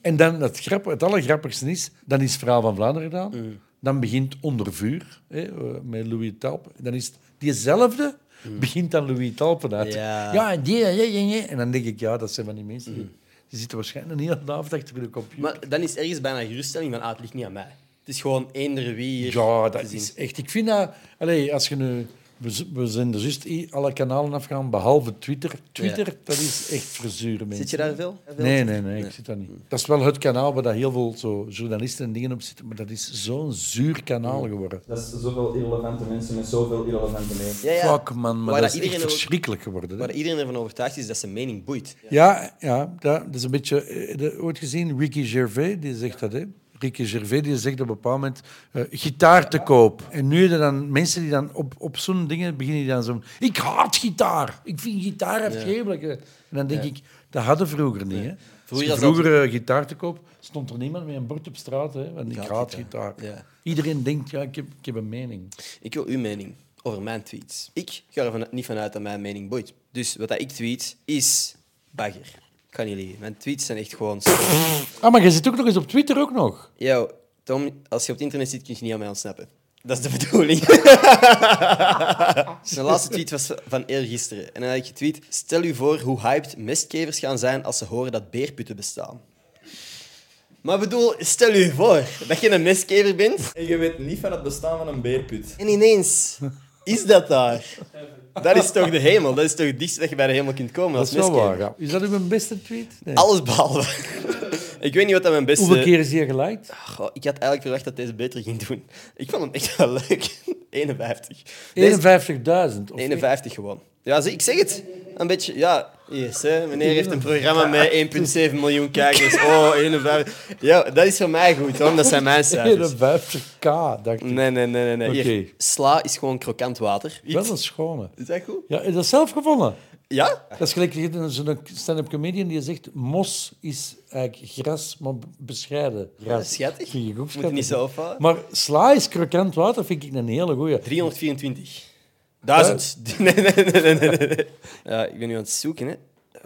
S3: En dan, het, grap, het allergrappigste is, dan is het verhaal van Vlaanderen gedaan,
S1: Mm.
S3: dan begint Onder Vuur, hè, eh, met Louis Talp. Dan is het diezelfde, begint dan Louis Talpen uit.
S1: Mm. Ja. Mm.
S3: en die, en die, en die. En dan denk ik, ja, dat zijn van die mensen die... Die zitten waarschijnlijk een hele avond achter de computer.
S1: Maar dan is ergens bijna geruststelling van, ah, het ligt niet aan mij. Het is gewoon eender wie hier
S3: Ja,
S1: te
S3: dat
S1: zien.
S3: is echt. Ik vind dat. Allee, als je nu. We, z- we zijn dus juist i- alle kanalen afgegaan, behalve Twitter. Twitter, dat is echt verzuren, mensen.
S1: Zit je daar veel?
S3: Nee, nee, nee, ik zit daar niet. Dat is wel het kanaal waar dat heel veel zo journalisten en dingen op zitten, maar dat is zo'n zuur
S1: Mm.
S3: kanaal geworden.
S4: Dat is zoveel irrelevante mensen met zoveel irrelevante mensen.
S1: Ja, ja.
S3: Fuck, man, maar
S1: Waar
S3: dat
S1: dat
S3: is echt
S1: iedereen ook-
S3: verschrikkelijk geworden. hè.
S1: Waar iedereen ervan overtuigd is dat zijn mening boeit.
S3: Ja, ja dat, dat is een beetje... eh, de- ooit gezien, Ricky Gervais, die zegt dat, hè. Ricky Gervais die zegt op een bepaald moment eh, gitaar te koop. En nu heb je dan mensen die dan op, op zo'n dingen beginnen die dan zo... Ik haat gitaar. Ik vind gitaar afgrijpelijk. hè." En dan denk ik, dat hadden vroeger niet. Hè. Als
S1: Vroeger
S3: je
S1: was dat-
S3: vroeger eh, gitaar te koop, stond er niemand met een bord op straat. Hè, want ik haat gitaar.
S1: Ja.
S3: Iedereen denkt, ja, ik heb, ik heb een mening.
S1: Ik wil uw mening over mijn tweets. Ik ga er van- niet vanuit dat mijn mening boeit. Dus wat dat ik tweet is bagger. Ik ga niet liegen. Mijn tweets zijn echt gewoon...
S3: Ah, maar je zit ook nog eens op Twitter ook nog.
S1: Yo, Tom, als je op het internet zit, kun je niet aan mij ontsnappen. Dat is de bedoeling. Zijn laatste tweet was van eergisteren. En dan had ik getweet... Stel u voor hoe hyped mestkevers gaan zijn als ze horen dat beerputten bestaan. Maar bedoel, stel u voor dat je een mestkever bent
S4: En je weet niet van het bestaan van een beerput.
S1: en ineens is dat daar. Dat is toch de hemel? Dat is toch het dichtst dat je bij de hemel kunt komen
S3: Dat
S1: als
S3: is wel
S1: mestkever?
S3: waar, ja. Is dat uw beste tweet? Nee.
S1: Alles behalve. ik weet niet wat dat mijn beste...
S3: Hoeveel keer is die geliked?
S1: Goh, ik had eigenlijk verwacht dat deze beter ging doen. Ik vond hem echt wel leuk. 51. Deze-
S3: 51.000. of
S1: 51 gewoon. Ja, zie, ik zeg het. Een beetje, ja. Yes, hè. Meneer heeft een programma met 1,7 miljoen kijkers. Oh, 51. Ja, dat is voor mij goed, hoor. Dat zijn mijn cijfers.
S3: 51k, dacht ik.
S1: Nee, nee, nee, nee. nee. Hier,
S3: Oké.
S1: Sla is gewoon krokant water.
S3: Wel een schone.
S1: Is dat goed?
S3: Ja, is dat zelf gevonden?
S1: Ja?
S3: Dat is gelijk je hebt een- zo'n stand-up comedian die zegt mos is eigenlijk gras, maar b- bescheiden. Gras.
S1: Schattig.
S3: Vind je ook
S1: Moet je
S3: schattig.
S1: niet zo opvallen.
S3: Maar sla is krokant water, vind ik een hele goeie.
S1: 324. Duizend. Nee, nee, nee, nee, nee, nee. Ja, ik ben nu aan het zoeken, hè.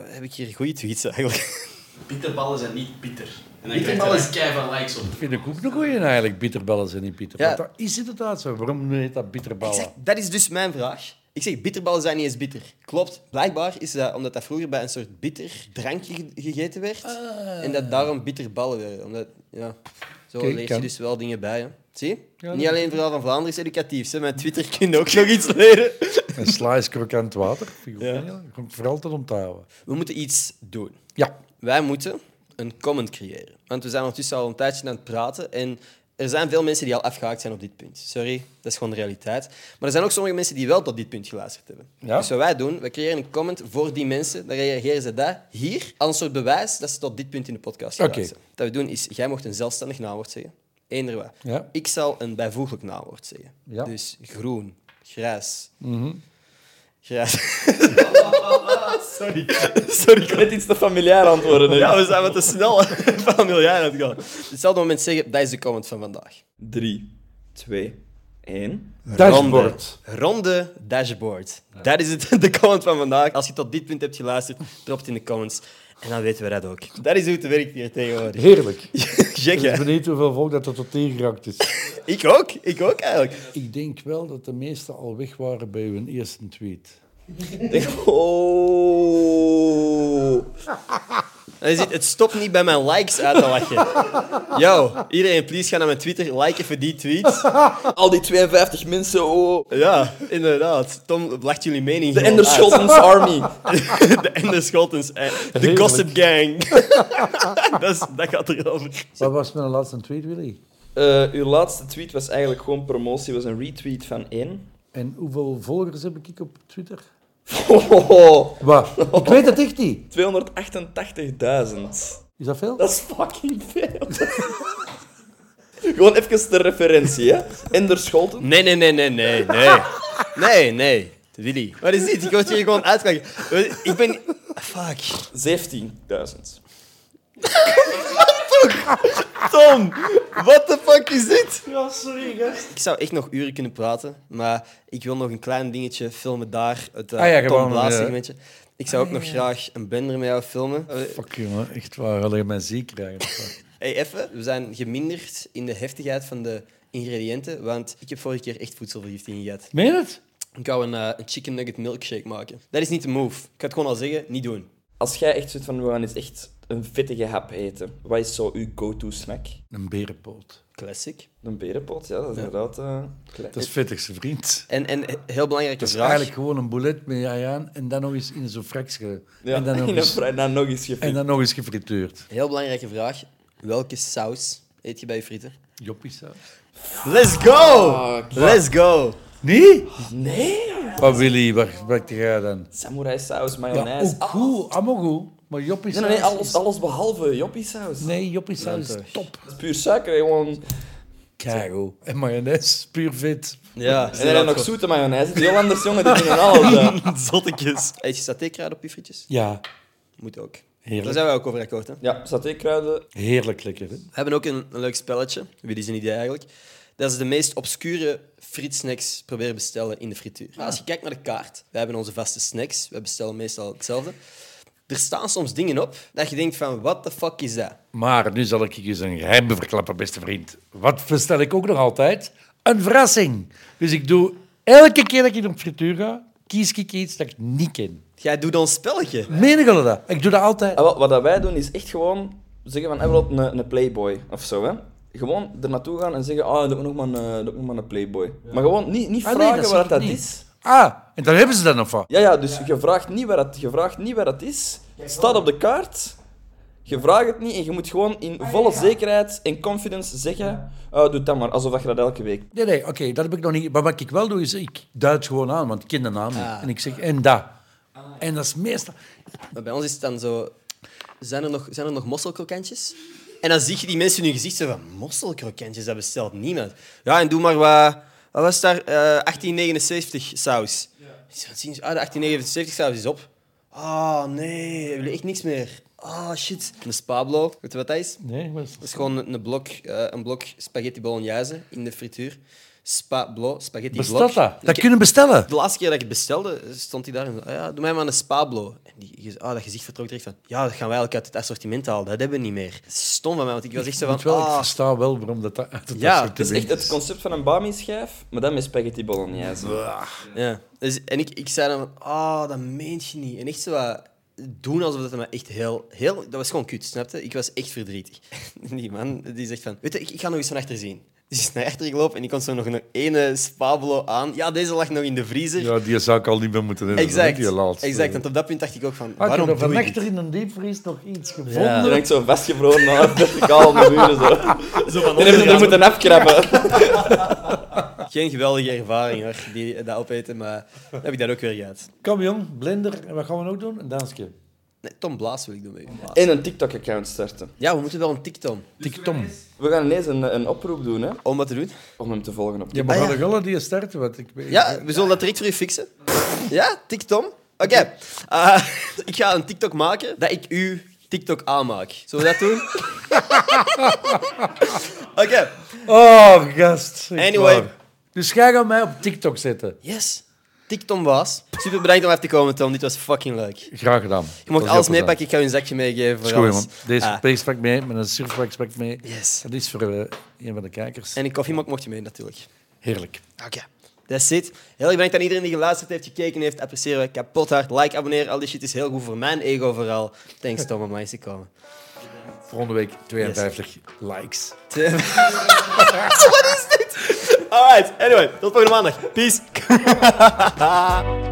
S1: Heb ik hier goede tweets eigenlijk?
S6: Bitterballen zijn niet bitter. En dan
S1: Bitterballen
S6: krijg je daar keiveel likes op.
S3: Vind ik ook een goeie eigenlijk, bitterballen zijn niet bitter.
S1: Ja.
S3: Want Dat is inderdaad zo. Waarom heet dat
S1: Ik
S3: bitterballen?
S1: zeg, dat is dus mijn vraag. Ik zeg, bitterballen zijn niet eens bitter. Klopt. Blijkbaar is dat omdat dat vroeger bij een soort bitter drankje ge- gegeten werd. En dat daarom bitterballen werden. Omdat, ja, zo
S3: Kijk,
S1: leer je
S3: kan.
S1: dus wel dingen bij. Hè. Zie je?
S3: dat
S1: niet alleen vooral van Vlaanderen is educatief. Hè. Mijn Twitter kun je ook nog iets leren.
S3: En sla is krokant water, vind ik ook een hele- Kan ik vooral te onthouden.
S1: We moeten iets doen.
S3: Ja,
S1: Wij moeten een comment creëren. Want we zijn ondertussen al een tijdje aan het praten en er zijn veel mensen die al afgehaakt zijn op dit punt. Sorry, dat is gewoon de realiteit. Maar er zijn ook sommige mensen die wel tot dit punt geluisterd hebben.
S3: Ja.
S1: Dus wat wij doen, we creëren een comment voor die mensen. Dan reageren ze daar, hier, als een soort bewijs dat ze tot dit punt in de podcast
S3: Oké.
S1: geluisterd hebben. Wat we doen is, jij mocht een zelfstandig naamwoord zeggen. Eender wat.
S3: Ja.
S1: Ik zal een bijvoeglijk naamwoord zeggen.
S3: Ja. Mhm.
S1: Dus groen, grijs. Grijs. Sorry. Sorry,
S4: Ik weet iets te familiair antwoorden. hè.
S1: ja, we zijn wat te snel van miljard aan het gaan. Hetzelfde moment zeggen, dat is de comment van vandaag.
S4: 3, 2, 1.
S3: dashboard.
S1: Ronde dashboard. Dat is het, de comment van vandaag. Als je tot dit punt hebt geluisterd, drop het in de comments. En dan weten we dat ook. Dat is hoe het werkt hier tegenwoordig.
S3: Heerlijk.
S1: Gek,
S3: Ik
S1: hè?
S3: ben benieuwd hoeveel volk dat er tot hier geraakt is.
S1: Ik ook. Ik ook, eigenlijk.
S3: Ik denk wel dat de meesten al weg waren bij hun eerste tweet.
S1: Oh. Hij ziet, het stopt niet bij mijn likes uit te lachen. Yo, iedereen, please ga naar mijn Twitter, like even die tweet.
S4: Al die 52 mensen, oh.
S1: Ja, inderdaad. Tom lacht jullie mening
S4: De
S1: gewoon uit.
S4: Enderschotten's Army.
S1: de Enders Scholtens. eh, De
S3: Heerlijk.
S1: Gossip Gang. dat, is, dat gaat erover.
S3: Wat was mijn laatste tweet, Willy?
S4: Eh, uw laatste tweet was eigenlijk gewoon promotie, was een retweet van één.
S3: En hoeveel volgers heb ik op Twitter?
S4: Oh,
S3: Wat? Ik weet het echt niet.
S4: 288.000.
S3: Is dat veel?
S4: Dat is fucking veel. Gewoon even de referentie, hè? Ender Scholten.
S1: Nee, nee, nee, nee, nee, nee. Nee, nee. Willy. Wat is dit? Ik word hier gewoon uitgelachen. Ik ben... Fuck.
S4: 17.000.
S1: Tom, what the fuck is dit?
S5: Ja, sorry, gast.
S1: Ik zou echt nog uren kunnen praten, maar ik wil nog een klein dingetje filmen daar. Het eh,
S3: Ah ja,
S1: Tom
S3: gewoon,
S1: Blaas
S3: ja.
S1: segmentje. Ik zou ook nog graag een bender met jou filmen. Eh,
S3: Fuck jongen, echt waar. Alleen mijn ziek krijgen.
S1: hey, even. We zijn geminderd in de heftigheid van de ingrediënten, want ik heb vorige keer echt voedselvergiftiging gehad.
S3: Meen je het?
S1: Ik wou een, eh, een chicken nugget milkshake maken. Dat is niet de move. Ik ga het gewoon al zeggen, niet doen.
S5: Als jij echt zit van, we gaan eens echt een vettige hap eten, wat is zo uw go-to snack?
S3: Een berenpoot.
S1: Classic.
S5: Een berenpot, ja, dat is inderdaad... eh, klein.
S3: Dat is vettigste vriend.
S1: En, en eh, heel belangrijke
S3: Dat is
S1: vraag.
S3: Dus eigenlijk gewoon een boulet met jajaan en dan nog eens in zo'n fraksje.
S5: Ja,
S3: En, dan nog
S5: en
S3: eens-
S5: dan, dan nog eens
S3: en
S5: gefit.
S3: dan nog eens gefrituurd.
S1: Heel belangrijke vraag. Welke saus eet je bij je frieten?
S3: Joppiesaus.
S1: Let's go! Let's go!
S3: Nee?
S5: Nee, joh.
S3: Wat Willy, wat wat jij dan?
S5: samurai saus,
S3: Ja,
S5: mayonaise.
S3: ook goed, allemaal goed. Maar
S5: Nee,
S3: joppiesaus
S5: nee, nee, alles,
S3: is-
S5: alles behalve joppiesaus.
S3: Nee, joppiesaus is top.
S5: Dat is puur suiker, hè, gewoon.
S3: Keigo. En mayonaise, puur vet.
S1: Ja,
S5: En dan nog zoete mayonaise. Het is heel anders, jongen. Die dingen alles. eh.
S1: zottekjes. Eet je satékruid op je frietjes?
S3: Ja,
S1: Moet ook. Daar
S3: heerlijk.
S1: zijn we ook over akkoord. Hè? We
S5: Ja, satékruiden.
S3: Heerlijk lekker. Hè?
S1: hebben ook een, een leuk spelletje. Wie is een idee eigenlijk? Dat is de meest obscure frietsnacks proberen bestellen in de frituur. Maar als je kijkt naar de kaart, wij hebben onze vaste snacks. Wij bestellen meestal hetzelfde. Er staan soms dingen op dat je denkt van, what the fuck is dat?
S3: Maar nu zal ik je eens een geheim verklappen, beste vriend. Wat verstel ik ook nog altijd? Een verrassing. Dus ik doe elke keer dat ik op frituur ga, kies ik iets dat ik niet ken.
S1: Jij doet ons spelletje.
S3: Meen jullie dat? Ik doe dat altijd.
S5: En Ah, wat, wat dat wij doen is echt gewoon zeggen van bijvoorbeeld een, een Playboy of zo. Hè. Gewoon er naartoe gaan en zeggen: Ah, doe ook nog maar een, doe ook nog maar een Playboy. Maar gewoon niet, niet
S3: Ah, nee,
S5: vragen
S3: dat zeg
S5: wat
S3: ik
S5: dat
S3: niet.
S5: is.
S3: Ah, en dan hebben ze dat nog van.
S5: Ja, ja, dus je vraagt niet waar dat, je vraagt niet waar dat is. Het staat op de kaart. Je vraagt het niet en je moet gewoon
S3: Ah,
S5: in volle zekerheid en confidence zeggen: "Ah, Doe dat maar, alsof dat je dat elke week
S3: Nee, nee, oké, dat heb ik nog niet. Maar wat ik wel doe, is ik duid gewoon aan, want ik ken de naam niet. En ik zeg, en dat. En dat is meestal...
S1: Maar bij ons is het dan zo... Zijn er nog, zijn er nog mosselkrokantjes? En dan zie je die mensen in hun gezicht zo van... Mosselkrokantjes, dat bestelt niemand. Ja, en doe maar wat... Wat was daar? eh 1879 saus. Dus dan zien ze, ah, de 1879 saus is op. Ah, nee. We willen echt niks meer. Ah, shit. Een spablo. Weet je wat dat is?
S3: Nee, wat is
S1: Dat is gewoon een, een blok, eh, een blok spaghetti bolognese in de frituur. Spablo, spaghetti blok.
S3: Bestaat dat? Dat
S1: Ik-
S3: kunnen bestellen.
S1: de laatste keer dat ik het bestelde, stond hij daar en zei, "Ah ja, doe mij maar een Spablo. En die, gez- ah, dat gezicht vertrok direct van, ja, dat gaan wij eigenlijk uit het assortiment halen. Dat hebben we niet meer. Stom van mij, want ik was echt zo
S3: Ik, moet
S1: van,
S3: wel, ik
S1: ah,
S3: versta wel waarom dat dat uit het
S1: Ja,
S3: assortiment
S5: Het is echt het concept van een bami-schijf, maar dan met spaghetti bolognese.
S1: ja. Dus, en ik, ik zei dan, van, ah, dat meent je niet. En echt zo wat doen alsof dat me echt heel, heel... Dat was gewoon kut, snap je? Ik was echt verdrietig. Die man, die zegt van, weet je, ik, ik ga nog eens van achter zien. Dus die is naar achter gelopen en die kon zo nog een ene Spablo aan. Ja, deze lag nog in de vriezer.
S3: Ja, die zou ik al niet meer moeten hebben.
S1: exact.
S3: Die laatste.
S1: exact. Want op dat punt dacht ik ook van,
S3: Ah, ik heb
S1: waarom
S3: er
S1: doe
S3: van
S1: ik dit?
S3: achter in een diepvries nog iets gevonden.
S5: Je denkt zo vastgevroren aan verticaal op de muren. Zo. Dan
S3: oh,
S5: hebben ze er moeten afkrabben.
S1: Geen geweldige ervaring, hoor, die, eh, dat opeten, maar dan heb ik dat ook weer gehad.
S3: Kom jong, blender. En wat gaan we ook doen? Een dansje.
S1: Nee, Tom Blaas wil ik doen mee.
S5: En een TikTok-account starten.
S1: Eh, Ja, we moeten wel een TikTok.
S3: TikTok.
S5: We gaan ineens een, een oproep doen hè,
S1: Om wat te doen?
S5: om hem te volgen op
S3: Ja,
S5: TikTok.
S3: maar
S1: Ah,
S3: gaan
S1: ja.
S3: de gallen die je starten? Wat ik weet.
S1: Ja, we zullen dat direct voor u fixen. Ja, TikTok? Oké. Eh, ik ga een TikTok maken dat ik u TikTok aanmaak. Zullen we dat doen? Oké.
S3: Oh, gast. echt
S1: Anyway.
S3: waar. Dus jij gaat mij op TikTok zetten.
S1: Yes. TikTok Blaas. Super bedankt om af te komen, Tom. Dit was fucking leuk.
S3: Graag gedaan.
S1: Je mocht alles meepakken. Ik ga u een zakje meegeven. Voor
S3: Is goed,
S1: alles.
S3: man. Deze
S1: Ah,
S3: feestpak mee, met een surfbak mee.
S1: Yes.
S3: Dat is voor eh, een van de kijkers.
S1: En een koffiemok mocht je mee, natuurlijk.
S3: Heerlijk.
S1: Oké. dat is het. Heel erg bedankt aan iedereen die geluisterd heeft, gekeken heeft. Appreciëren we kapot hard. Like, abonneer, al die shit is heel goed voor mijn ego vooral. Thanks Tom om langs te komen.
S3: Volgende week 52 likes.
S1: Alright, anyway, tot volgende maandag. Peace.